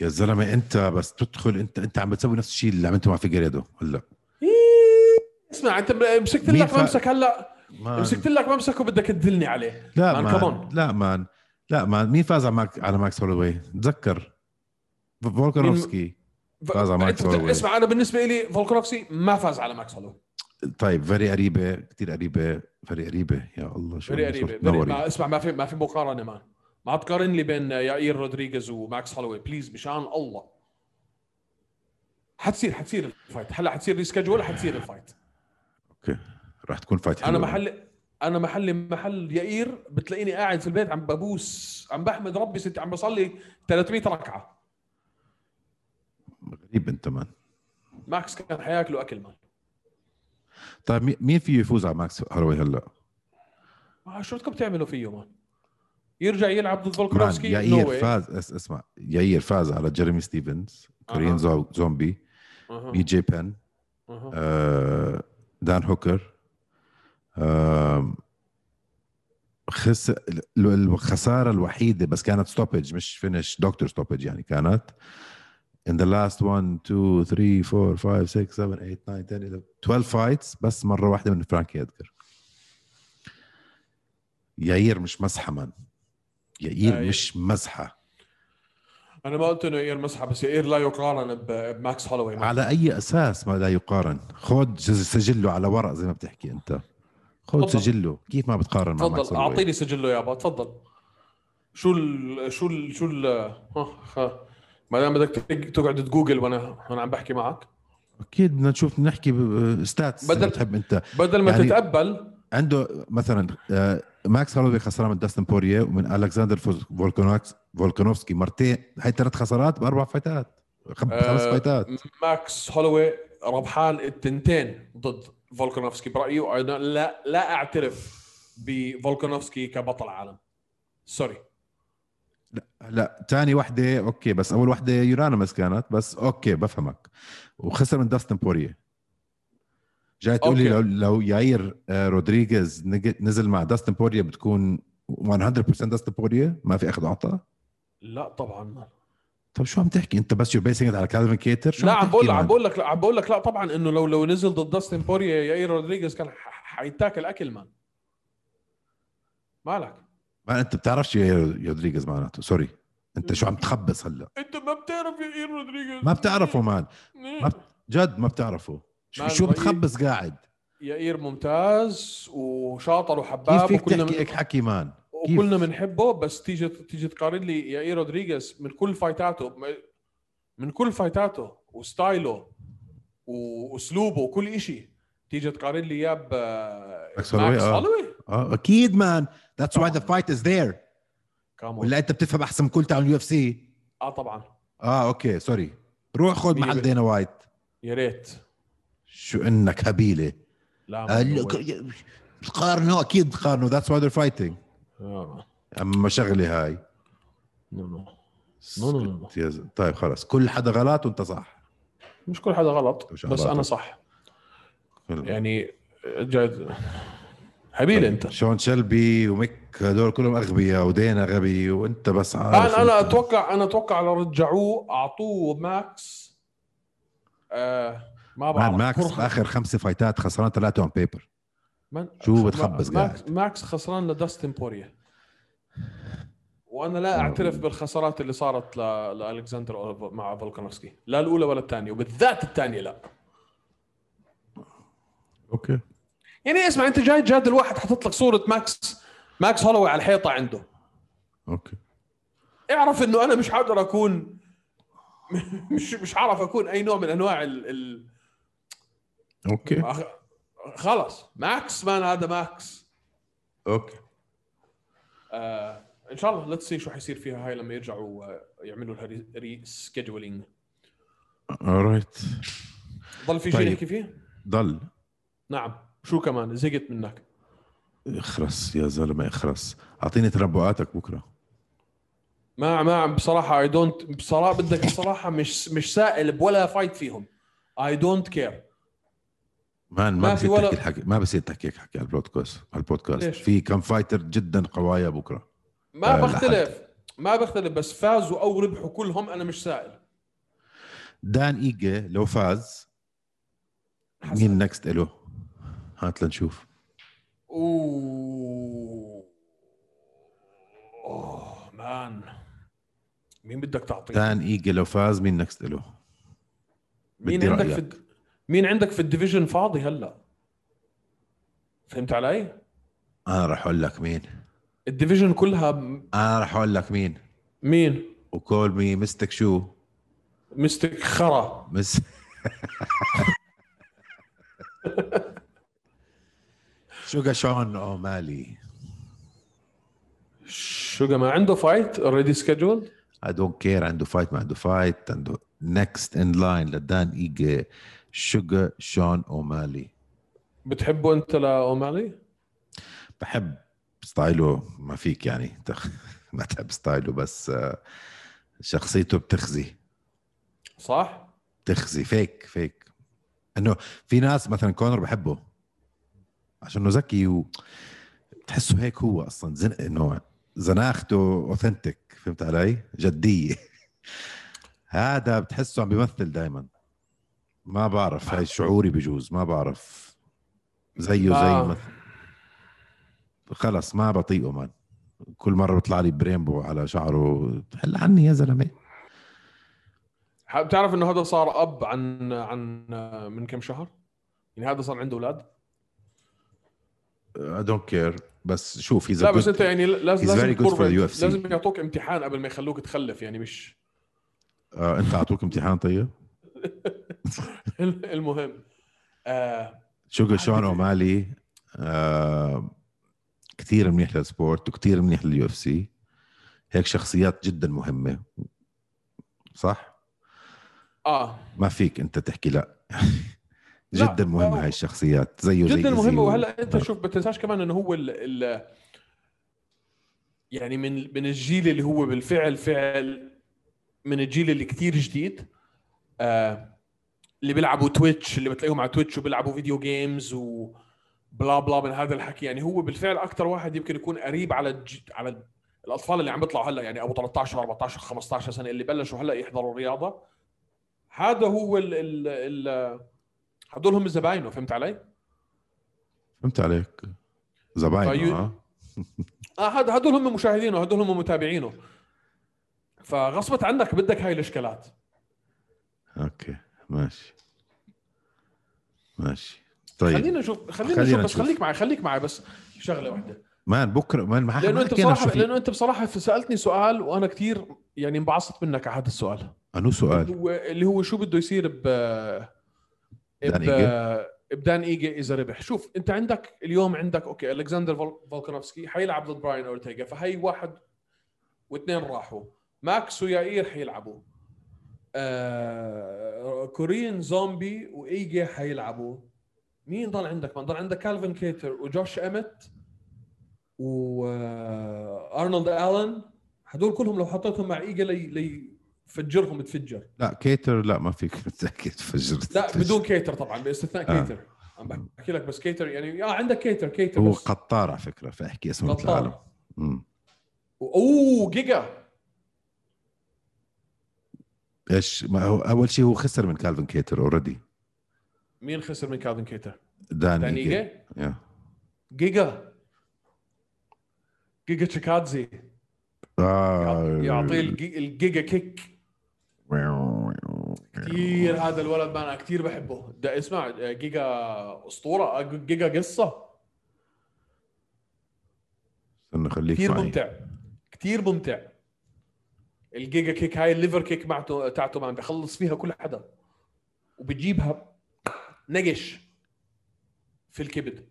Speaker 4: يا زلمه انت بس تدخل انت انت عم بتسوي نفس الشيء اللي عملته مع فيجريدو هلا
Speaker 3: إيه، اسمع انت ب- مسكت
Speaker 4: مين
Speaker 3: لك
Speaker 4: فا-
Speaker 3: ممسك هلا
Speaker 4: مان.
Speaker 3: مسكت لك ممسك وبدك تدلني عليه
Speaker 4: لا
Speaker 3: مان،
Speaker 4: مان
Speaker 3: كمان.
Speaker 4: لا مان لا مان مين فاز على ماك على ماكس هولوي تذكر ف- فولكانوفسكي
Speaker 3: ف-
Speaker 4: فاز على ماكس
Speaker 3: أنت بت-
Speaker 4: هولوي.
Speaker 3: اسمع انا بالنسبه لي فولكروفسي ما فاز على ماكس هولوي
Speaker 4: طيب فري قريبه كثير قريبه فري قريبه يا الله شو
Speaker 3: فري
Speaker 4: أنا صرت
Speaker 3: قريبه فري-
Speaker 4: نوري
Speaker 3: ما اسمع ما في ما في مقارنه مان ما تقارن لي بين يائير رودريغيز وماكس هولوي بليز مشان الله حتصير حتصير الفايت هلا حتصير ريسكجول حتصير الفايت
Speaker 4: اوكي رح تكون فايت
Speaker 3: انا
Speaker 4: حلوة.
Speaker 3: محل انا محلي محل يائير بتلاقيني قاعد في البيت عم ببوس عم بحمد ربي ست عم بصلي 300 ركعه
Speaker 4: غريب انت مان
Speaker 3: ماكس كان حياكله اكل مان
Speaker 4: طيب مي- مين فيه يفوز على ماكس هولوي هلا؟
Speaker 3: ما آه، شو بدكم تعملوا فيه مان يرجع يلعب ضد
Speaker 4: مان
Speaker 3: فولكروفسكي
Speaker 4: ياير
Speaker 3: No way.
Speaker 4: فاز اس اسمع ياير فاز على جيريمي ستيفنز كوريان
Speaker 3: أها.
Speaker 4: زو- زومبي
Speaker 3: أها،
Speaker 4: بي جي بن
Speaker 3: أها.
Speaker 4: آه، دان هوكر آم، خس ال- ال- الخساره الوحيده بس كانت ستوبج مش فينش دكتور ستوبج يعني كانت in the last 1 2 3 4 5 6 7 8 9 10 11 12 فايتس بس مره واحده من فرانكي ادجر ياير مش مسحه من ياير
Speaker 3: آه،
Speaker 4: مش مسحه
Speaker 3: انا ما قلت انه يائير مسحه بس يائير لا يقارن ب- بماكس هولوي مان.
Speaker 4: على اي اساس ما لا يقارن خذ جز- سجله على ورق زي ما بتحكي انت خذ
Speaker 3: تفضل.
Speaker 4: سجله كيف ما بتقارن مع ماكس
Speaker 3: تفضل
Speaker 4: هولوي؟
Speaker 3: اعطيني سجله يابا تفضل شو ال شو ال شو ال ها- ها. ما دام بدك تق- تقعد تجوجل وانا وانا عم بحكي معك
Speaker 4: اكيد بدنا نشوف نحكي ستاتس
Speaker 3: بدل-
Speaker 4: بدل بتحب انت
Speaker 3: بدل ما
Speaker 4: يعني-
Speaker 3: يعني... تتقبل
Speaker 4: عنده مثلا آه، ماكس هولوي خسران من داستن بوريه ومن الكساندر فوز- فولكانوكس فولكانوفسكي مرتين هاي ثلاث خسارات باربع فايتات خم-
Speaker 3: آه،
Speaker 4: خمس فايتات
Speaker 3: ماكس هولوي ربحان التنتين ضد فولكانوفسكي برايي وانا لا لا اعترف بفولكانوفسكي كبطل عالم سوري
Speaker 4: هلا ثاني وحده اوكي بس اول وحده يورانيمس كانت بس اوكي بفهمك وخسر من داستن بوريه جاي تقول لي لو
Speaker 3: أوكي.
Speaker 4: لو ياير آه، رودريغيز نج- نزل مع داستن بوريه بتكون 100% داستن بوريه ما في اخذ وعطاء
Speaker 3: لا طبعا ما.
Speaker 4: طب شو عم تحكي انت بس يو بيسنج على كالفن كيتر شو
Speaker 3: لا عم
Speaker 4: تحكي
Speaker 3: بقول عم
Speaker 4: مان؟
Speaker 3: بقول لك لا عم بقول لك لا طبعا انه لو لو نزل ضد داستن بوريا يائير رودريغيز كان ح- حيتاكل اكل مان مالك
Speaker 4: ما انت بتعرفش يا رودريغيز معناته سوري انت شو عم تخبص هلا
Speaker 3: انت ما بتعرف يائير رودريغيز نعم.
Speaker 4: ما بتعرفه مان ما بت- جد ما بتعرفه شو,
Speaker 3: مان
Speaker 4: شو
Speaker 3: رأيي-
Speaker 4: بتخبص قاعد
Speaker 3: يائير ممتاز وشاطر
Speaker 4: كيف
Speaker 3: وحباب
Speaker 4: فيك
Speaker 3: طيب، وكلنا
Speaker 4: تحكي هيك
Speaker 3: من...
Speaker 4: حكي مان كيف؟
Speaker 3: وكلنا بنحبه بس تيجي تيجي تقارن لي يائير رودريغيز من كل فايتاته م- من كل فايتاته وستايله واسلوبه وكل شيء تيجي تقارن لي اياه ب
Speaker 4: ماكس هولوي، آه.
Speaker 3: هولوي
Speaker 4: اه اكيد مان ذاتس واي
Speaker 3: آه.
Speaker 4: ذا فايت از ذير
Speaker 3: كامون
Speaker 4: ولا انت بتفهم احسن من كل تاع اليو اف سي
Speaker 3: اه طبعا
Speaker 4: اه اوكي سوري آه، روح خذ
Speaker 3: مية
Speaker 4: محل
Speaker 3: بال-
Speaker 4: دينا وايت
Speaker 3: يا ريت
Speaker 4: شو انك هبيله
Speaker 3: لا آه، ما
Speaker 5: قال
Speaker 3: هو-
Speaker 5: له قارنه اكيد
Speaker 4: قارنوا ذاتس واي ذير فايتنج
Speaker 3: آه.
Speaker 4: اما شغله هاي
Speaker 3: نو نو نو نو نو.
Speaker 4: اسكت يا ز- طيب خلص كل حدا غلط وانت صح
Speaker 3: مش كل حدا غلط
Speaker 4: مش
Speaker 3: بس
Speaker 4: غلط.
Speaker 3: انا صح
Speaker 4: كل-
Speaker 3: يعني جاي هبيل انت
Speaker 4: شون شلبي وميك هدول كلهم اغبياء ودينا غبي وانت بس عارف
Speaker 3: انا انا
Speaker 4: إنت-
Speaker 3: اتوقع انا اتوقع لو رجعوه اعطوه ماكس آه ما بعرف
Speaker 4: مان ماكس اخر خمسه فايتات خسران ثلاثه اون بيبر
Speaker 3: من...
Speaker 4: شو
Speaker 3: ماكس...
Speaker 4: بتخبص قاعد؟
Speaker 3: ماكس خسران لداستن بوريا وانا لا اعترف بالخسارات اللي صارت ل... لالكسندر أوليف- مع فولكانوفسكي لا الاولى ولا الثانيه وبالذات الثانيه لا
Speaker 4: اوكي
Speaker 3: يعني اسمع انت جاي جادل واحد حاطط لك صوره ماكس ماكس هولوي على الحيطه عنده
Speaker 4: اوكي
Speaker 3: اعرف انه انا مش حقدر اكون (laughs) مش مش عارف اكون اي نوع من انواع ال, ال...
Speaker 4: اوكي
Speaker 3: آه. أخ- خلص ماكس مان هذا ماكس
Speaker 4: اوكي
Speaker 3: آه ان شاء الله ليتس سي شو حيصير فيها هاي لما يرجعوا آه، يعملوا لها ريسكيدولينج
Speaker 4: رايت
Speaker 3: ضل في شيء
Speaker 4: طيب.
Speaker 3: نحكي فيه؟
Speaker 4: ضل
Speaker 3: نعم شو كمان زقت منك
Speaker 4: اخرس يا زلمه اخرس اعطيني تنبؤاتك بكره
Speaker 3: ما ما بصراحه اي دونت بصراحه بدك الصراحه مش مش سائل بولا فايت فيهم اي دونت كير
Speaker 4: مان ما,
Speaker 3: ما في
Speaker 4: بصير
Speaker 3: ولا-
Speaker 4: تحكي الحكي ما بصير تحكي هيك حكي على البودكاست على البودكاست
Speaker 3: ليش؟
Speaker 4: في كم فايتر جدا قوايا بكره آه،
Speaker 3: ما
Speaker 4: لحد.
Speaker 3: بختلف ما بختلف بس فازوا او ربحوا كلهم انا مش سائل
Speaker 4: دان ايجي لو فاز
Speaker 3: حسن.
Speaker 4: مين نكست له هات لنشوف
Speaker 3: اوه اوه مان مين بدك تعطيه؟
Speaker 4: دان ايجي لو فاز مين نكست له
Speaker 3: مين
Speaker 4: بدي
Speaker 3: عندك
Speaker 4: رأيك.
Speaker 3: في الد- مين عندك في الديفيجن فاضي هلا؟ فهمت علي؟
Speaker 4: انا راح اقول لك مين
Speaker 3: الديفيجن كلها م-
Speaker 4: انا راح اقول لك مين
Speaker 3: مين؟
Speaker 4: وكول مي مستك شو
Speaker 3: مستك خرا
Speaker 4: (laughs) مس شوغا شون اومالي
Speaker 3: شو ما عنده فايت اوريدي سكجولد؟
Speaker 4: اي دونت كير عنده فايت ما عنده فايت عنده نكست ان لاين لدان ايجي شوغا شون اومالي
Speaker 3: بتحبه انت لاومالي؟
Speaker 4: بحب ستايله ما فيك يعني تخ... (laughs) ما تحب ستايله بس آه، شخصيته بتخزي
Speaker 3: صح؟
Speaker 4: بتخزي فيك فيك انه في ناس مثلا كونر بحبه عشان انه ذكي وتحسه هيك هو اصلا زن... انه زناخته اوثنتيك فهمت علي؟ جديه (laughs) هذا بتحسه عم بيمثل دائما ما بعرف هاي شعوري بجوز ما بعرف زيه
Speaker 3: آه.
Speaker 4: زي مثل خلص ما بطيقه مان كل مره بيطلع لي بريمبو على شعره حل عني يا زلمه
Speaker 3: ح- بتعرف انه هذا صار اب عن عن من كم شهر؟ يعني هذا صار عنده اولاد؟
Speaker 4: اي دونت كير بس شوف اذا
Speaker 3: لا بس انت يعني لازم
Speaker 4: he's
Speaker 3: لازم
Speaker 4: very good for
Speaker 3: تكون-
Speaker 4: the UFC.
Speaker 3: لازم يعطوك امتحان قبل ما يخلوك تخلف يعني مش (laughs)
Speaker 4: آه، انت اعطوك امتحان طيب
Speaker 3: المهم آه
Speaker 4: شوغل شون اومالي آه كثير منيح للسبورت وكثير منيح لليو اف سي هيك شخصيات جدا مهمه صح
Speaker 3: اه
Speaker 4: ما فيك انت تحكي لا
Speaker 3: (laughs) لا،
Speaker 4: جدا مهمه
Speaker 3: آه،
Speaker 4: هاي الشخصيات زيه زي
Speaker 3: جدا
Speaker 4: إيزي
Speaker 3: مهمه
Speaker 4: و-
Speaker 3: وهلا انت شوف بتنساش كمان انه هو ال ال يعني من من الجيل اللي هو بالفعل فعل من الجيل اللي كتير جديد آه اللي بيلعبوا تويتش اللي بتلاقيهم على تويتش وبيلعبوا فيديو جيمز و بلا بلا من هذا الحكي يعني هو بالفعل اكثر واحد يمكن يكون قريب على الج... على ال- الاطفال اللي عم بيطلعوا هلا يعني ابو 13 14 15 سنه اللي بلشوا هلا يحضروا الرياضه هذا هو ال ال ال هدول هم زباينه فهمت علي؟
Speaker 4: فهمت عليك زباين
Speaker 3: طيب.
Speaker 4: اه
Speaker 3: اه هاد هدول هم مشاهدينه هدول هم متابعينه فغصبت عنك بدك هاي الاشكالات
Speaker 4: اوكي ماشي ماشي طيب
Speaker 3: خلينا نشوف خلينا,
Speaker 4: خلينا
Speaker 3: نشوف بس
Speaker 4: نشوف.
Speaker 3: خليك معي خليك معي بس شغله واحده
Speaker 4: مان بكره مان ما
Speaker 3: لانه
Speaker 4: ما
Speaker 3: انت
Speaker 4: حكينا شو
Speaker 3: بصراحه
Speaker 4: في
Speaker 3: لانه انت بصراحه سالتني سؤال وانا كثير يعني انبعصت منك على هذا السؤال
Speaker 4: انو سؤال
Speaker 3: هو اللي هو شو بده يصير ب
Speaker 4: بدان
Speaker 3: ب-
Speaker 4: إيجي؟
Speaker 3: بدان ايجي اذا ربح شوف انت عندك اليوم عندك اوكي الكسندر فول- فولكانوفسكي حيلعب ضد براين اورتيغا فهي واحد واثنين راحوا ماكس ويائير حيلعبوا آه كوريين زومبي وايجي حيلعبوا مين ضل عندك من ضل عندك كالفن كيتر وجوش امت وارنولد الن آه، هدول كلهم لو حطيتهم مع ايجي لي لي فجرهم تفجر
Speaker 4: لا كيتر لا ما فيك (laughs) متاكد فجرت
Speaker 3: لا بدون كيتر طبعا باستثناء
Speaker 4: آه.
Speaker 3: كيتر عم بحكي لك بس كيتر يعني اه عندك كيتر كيتر
Speaker 4: هو
Speaker 3: بس
Speaker 4: قطار على فكره فاحكي اسمه مثل
Speaker 3: غطاء.
Speaker 4: العالم مم.
Speaker 3: اوه جيجا
Speaker 4: ايش ما هو اول شيء هو خسر من كالفن كيتر اوريدي
Speaker 3: مين خسر من كالفن كيتر؟
Speaker 4: داني
Speaker 3: داني
Speaker 4: إيجي.
Speaker 3: إيجي؟
Speaker 4: يا.
Speaker 3: جيجا جيجا تشيكادزي
Speaker 4: آه.
Speaker 3: يعطيه الجي- الجيجا كيك كثير هذا الولد ما انا كثير بحبه ده اسمع آه، جيجا اسطوره جيجا قصه
Speaker 4: استنى خليك
Speaker 3: كثير
Speaker 4: معي
Speaker 3: ممتع كثير ممتع الجيجا كيك هاي الليفر كيك معته تاعته ما بخلص فيها كل حدا وبتجيبها نقش في الكبد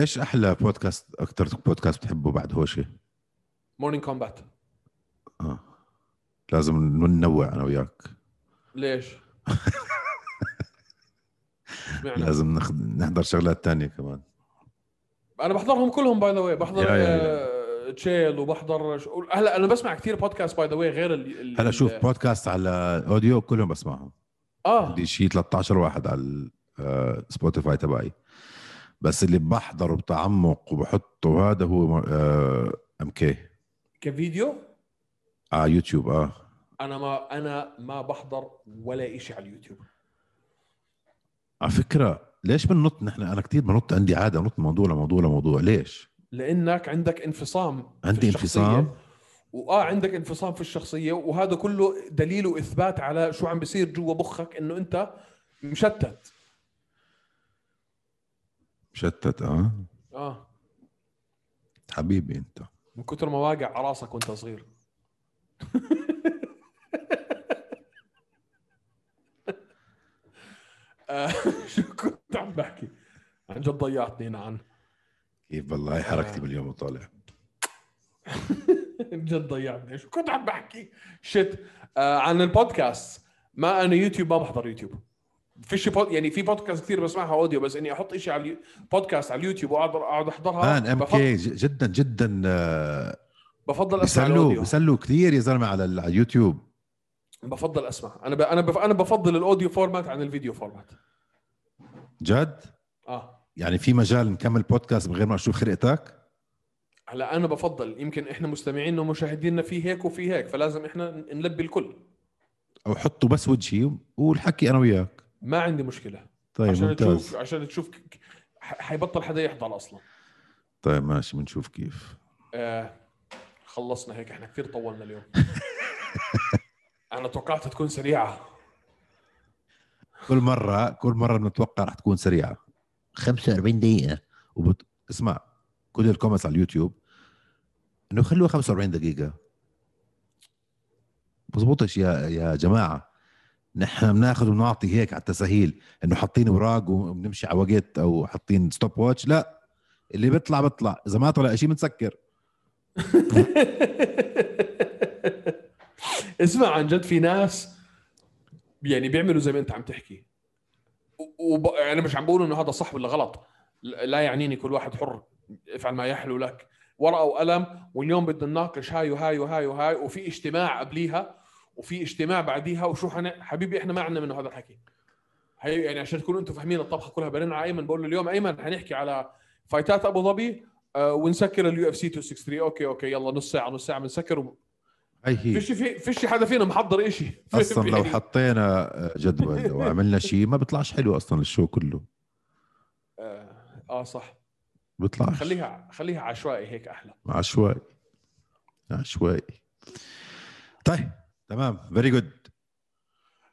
Speaker 4: ايش احلى بودكاست اكثر بودكاست بتحبه بعد هوشه
Speaker 3: مورنينج كومبات
Speaker 4: اه لازم ننوع انا وياك
Speaker 3: ليش؟ اشمعنى؟
Speaker 4: لازم ناخذ نحضر شغلات تانية كمان
Speaker 3: انا بحضرهم كلهم باي ذا واي بحضر
Speaker 4: يا- يا- يا.
Speaker 3: آه، تشيل وبحضر ش- هلا انا بسمع كثير بودكاست باي ذا واي غير ال- ال-
Speaker 4: هلا شوف
Speaker 3: ال-
Speaker 4: بودكاست على اوديو كلهم بسمعهم
Speaker 3: اه
Speaker 4: عندي شيء 13 واحد على آه، سبوتيفاي تبعي بس اللي بحضره بتعمق وبحطه هذا هو آه، ام كي
Speaker 3: كفيديو
Speaker 4: على يوتيوب اه
Speaker 3: انا ما انا ما بحضر ولا شيء على اليوتيوب
Speaker 4: على فكره ليش بننط نحن انا كثير بنط عندي عاده بنط من موضوع لموضوع لموضوع ليش؟
Speaker 3: لانك عندك انفصام في
Speaker 4: عندي
Speaker 3: الشخصية.
Speaker 4: انفصام
Speaker 3: واه عندك انفصام في الشخصيه وهذا كله دليل واثبات على شو عم بيصير جوا مخك انه انت مشتت
Speaker 4: مشتت اه
Speaker 3: اه
Speaker 4: حبيبي انت
Speaker 3: من كثر ما واقع على راسك وانت صغير (laughs) آه، شو كنت عم بحكي عن جد ضيعتني نعم
Speaker 4: كيف والله
Speaker 3: آه.
Speaker 4: حركتي باليوم وطالع
Speaker 3: عن جد ضيعتني شو كنت عم بحكي شت آه، عن البودكاست ما انا يوتيوب ما بحضر يوتيوب فيش بود... يعني في بودكاست كثير بسمعها اوديو بس اني احط شيء على اليو... بودكاست على اليوتيوب واقعد اقعد احضرها
Speaker 4: مان ام
Speaker 3: آه، بفضل,
Speaker 4: كي جدا جدا آه،
Speaker 3: بفضل اسمع
Speaker 4: بيسلوا
Speaker 3: الاوديو
Speaker 4: بيسلوا كثير يا زلمه على ال- على اليوتيوب
Speaker 3: بفضل اسمع انا ب... انا بف... انا بفضل الاوديو فورمات عن الفيديو فورمات
Speaker 4: جد
Speaker 3: اه
Speaker 4: يعني في مجال نكمل بودكاست من غير ما اشوف خرقتك
Speaker 3: هلا انا بفضل يمكن احنا مستمعينا ومشاهدينا في هيك وفي هيك فلازم احنا نلبي الكل
Speaker 4: او حطوا بس وجهي والحكي انا وياك
Speaker 3: ما عندي مشكله
Speaker 4: طيب
Speaker 3: عشان
Speaker 4: ممتاز
Speaker 3: تشوف عشان تشوف ك- ك- ح- حيبطل حدا يحضر اصلا
Speaker 4: طيب ماشي بنشوف كيف
Speaker 3: آه خلصنا هيك احنا كثير طولنا اليوم انا توقعت تكون سريعه
Speaker 4: كل مره كل مره بنتوقع رح تكون سريعه
Speaker 5: 45 دقيقة
Speaker 4: وبت... اسمع كل الكومنتس على اليوتيوب انه خلوها 45 دقيقه بزبطش يا يا جماعه نحن بناخذ وبنعطي هيك على التسهيل انه حاطين اوراق وبنمشي على وقت او حاطين ستوب واتش لا اللي بيطلع بيطلع اذا ما طلع شيء بنسكر
Speaker 3: (laughs) اسمع عن جد في ناس يعني بيعملوا زي ما انت عم تحكي وب... انا مش عم بقول انه هذا صح ولا غلط ل- لا يعنيني كل واحد حر افعل ما يحلو لك ورقه وقلم واليوم بدنا نناقش هاي وهاي وهاي وهاي وفي اجتماع قبليها وفي اجتماع بعديها وشو حن... حبيبي احنا ما عندنا منه هذا الحكي هي يعني عشان تكونوا انتم فاهمين الطبخه كلها برن على ايمن بقول له اليوم ايمن حنحكي على فايتات ابو ظبي آه، ونسكر اليو اف سي 263 اوكي اوكي يلا نص ساعه نص ساعه بنسكر وب...
Speaker 4: هي هي
Speaker 3: فيش في فيش حدا فينا محضر إشي (laughs)
Speaker 4: اصلا إيه. لو
Speaker 3: يعني
Speaker 4: حطينا آه، جدول وعملنا شيء ما بيطلعش حلو اصلا الشو كله
Speaker 3: آه, اه صح
Speaker 4: بيطلعش
Speaker 3: خليها خليها عشوائي هيك احلى
Speaker 4: عشوائي عشوائي طيب تمام فيري جود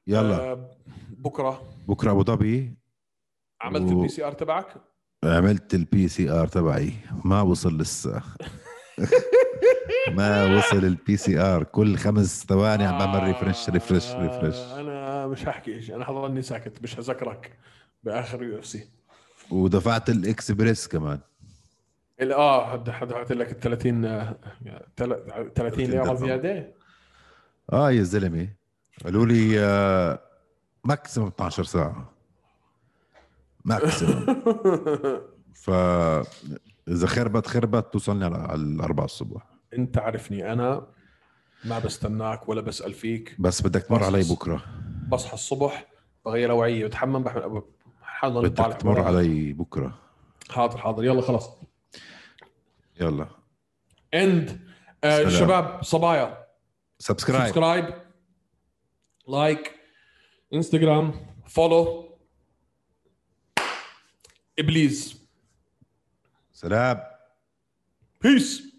Speaker 4: يلا آه.
Speaker 3: آه بكره
Speaker 4: بكره ابو ظبي
Speaker 3: عملت
Speaker 4: و-
Speaker 3: البي سي ار تبعك
Speaker 4: عملت البي سي ار تبعي ما وصل لسه (laughs) ما وصل البي سي ار كل خمس ثواني عم بعمل ريفرش ريفرش
Speaker 3: آه،
Speaker 4: ريفرش
Speaker 3: انا مش هحكي شيء انا حضرني ساكت مش هذكرك باخر يو اف سي
Speaker 4: ودفعت الاكسبريس كمان
Speaker 3: اه حد حد بعت لك ال 30 آه، تل- 30 ليره
Speaker 4: درهم.
Speaker 3: زياده
Speaker 4: اه آه يا زلمه قالوا لي آه، ماكسيموم 12 ساعه ماكسيموم ف اذا خربت خربت توصلني على على الأربعة الصبح
Speaker 3: انت عارفني انا ما بستناك ولا بسال فيك
Speaker 4: بس بدك تمر علي بكره
Speaker 3: بصحى الصبح بغير اوعيه بتحمم بحمل حاضر
Speaker 4: بدك تمر علي بكره
Speaker 3: حاضر حاضر يلا خلص
Speaker 4: يلا
Speaker 3: اند آه
Speaker 4: سلام.
Speaker 3: الشباب صبايا
Speaker 4: سبسكرايب
Speaker 3: سبسكرايب لايك انستغرام فولو ابليس
Speaker 4: سلام
Speaker 3: بيس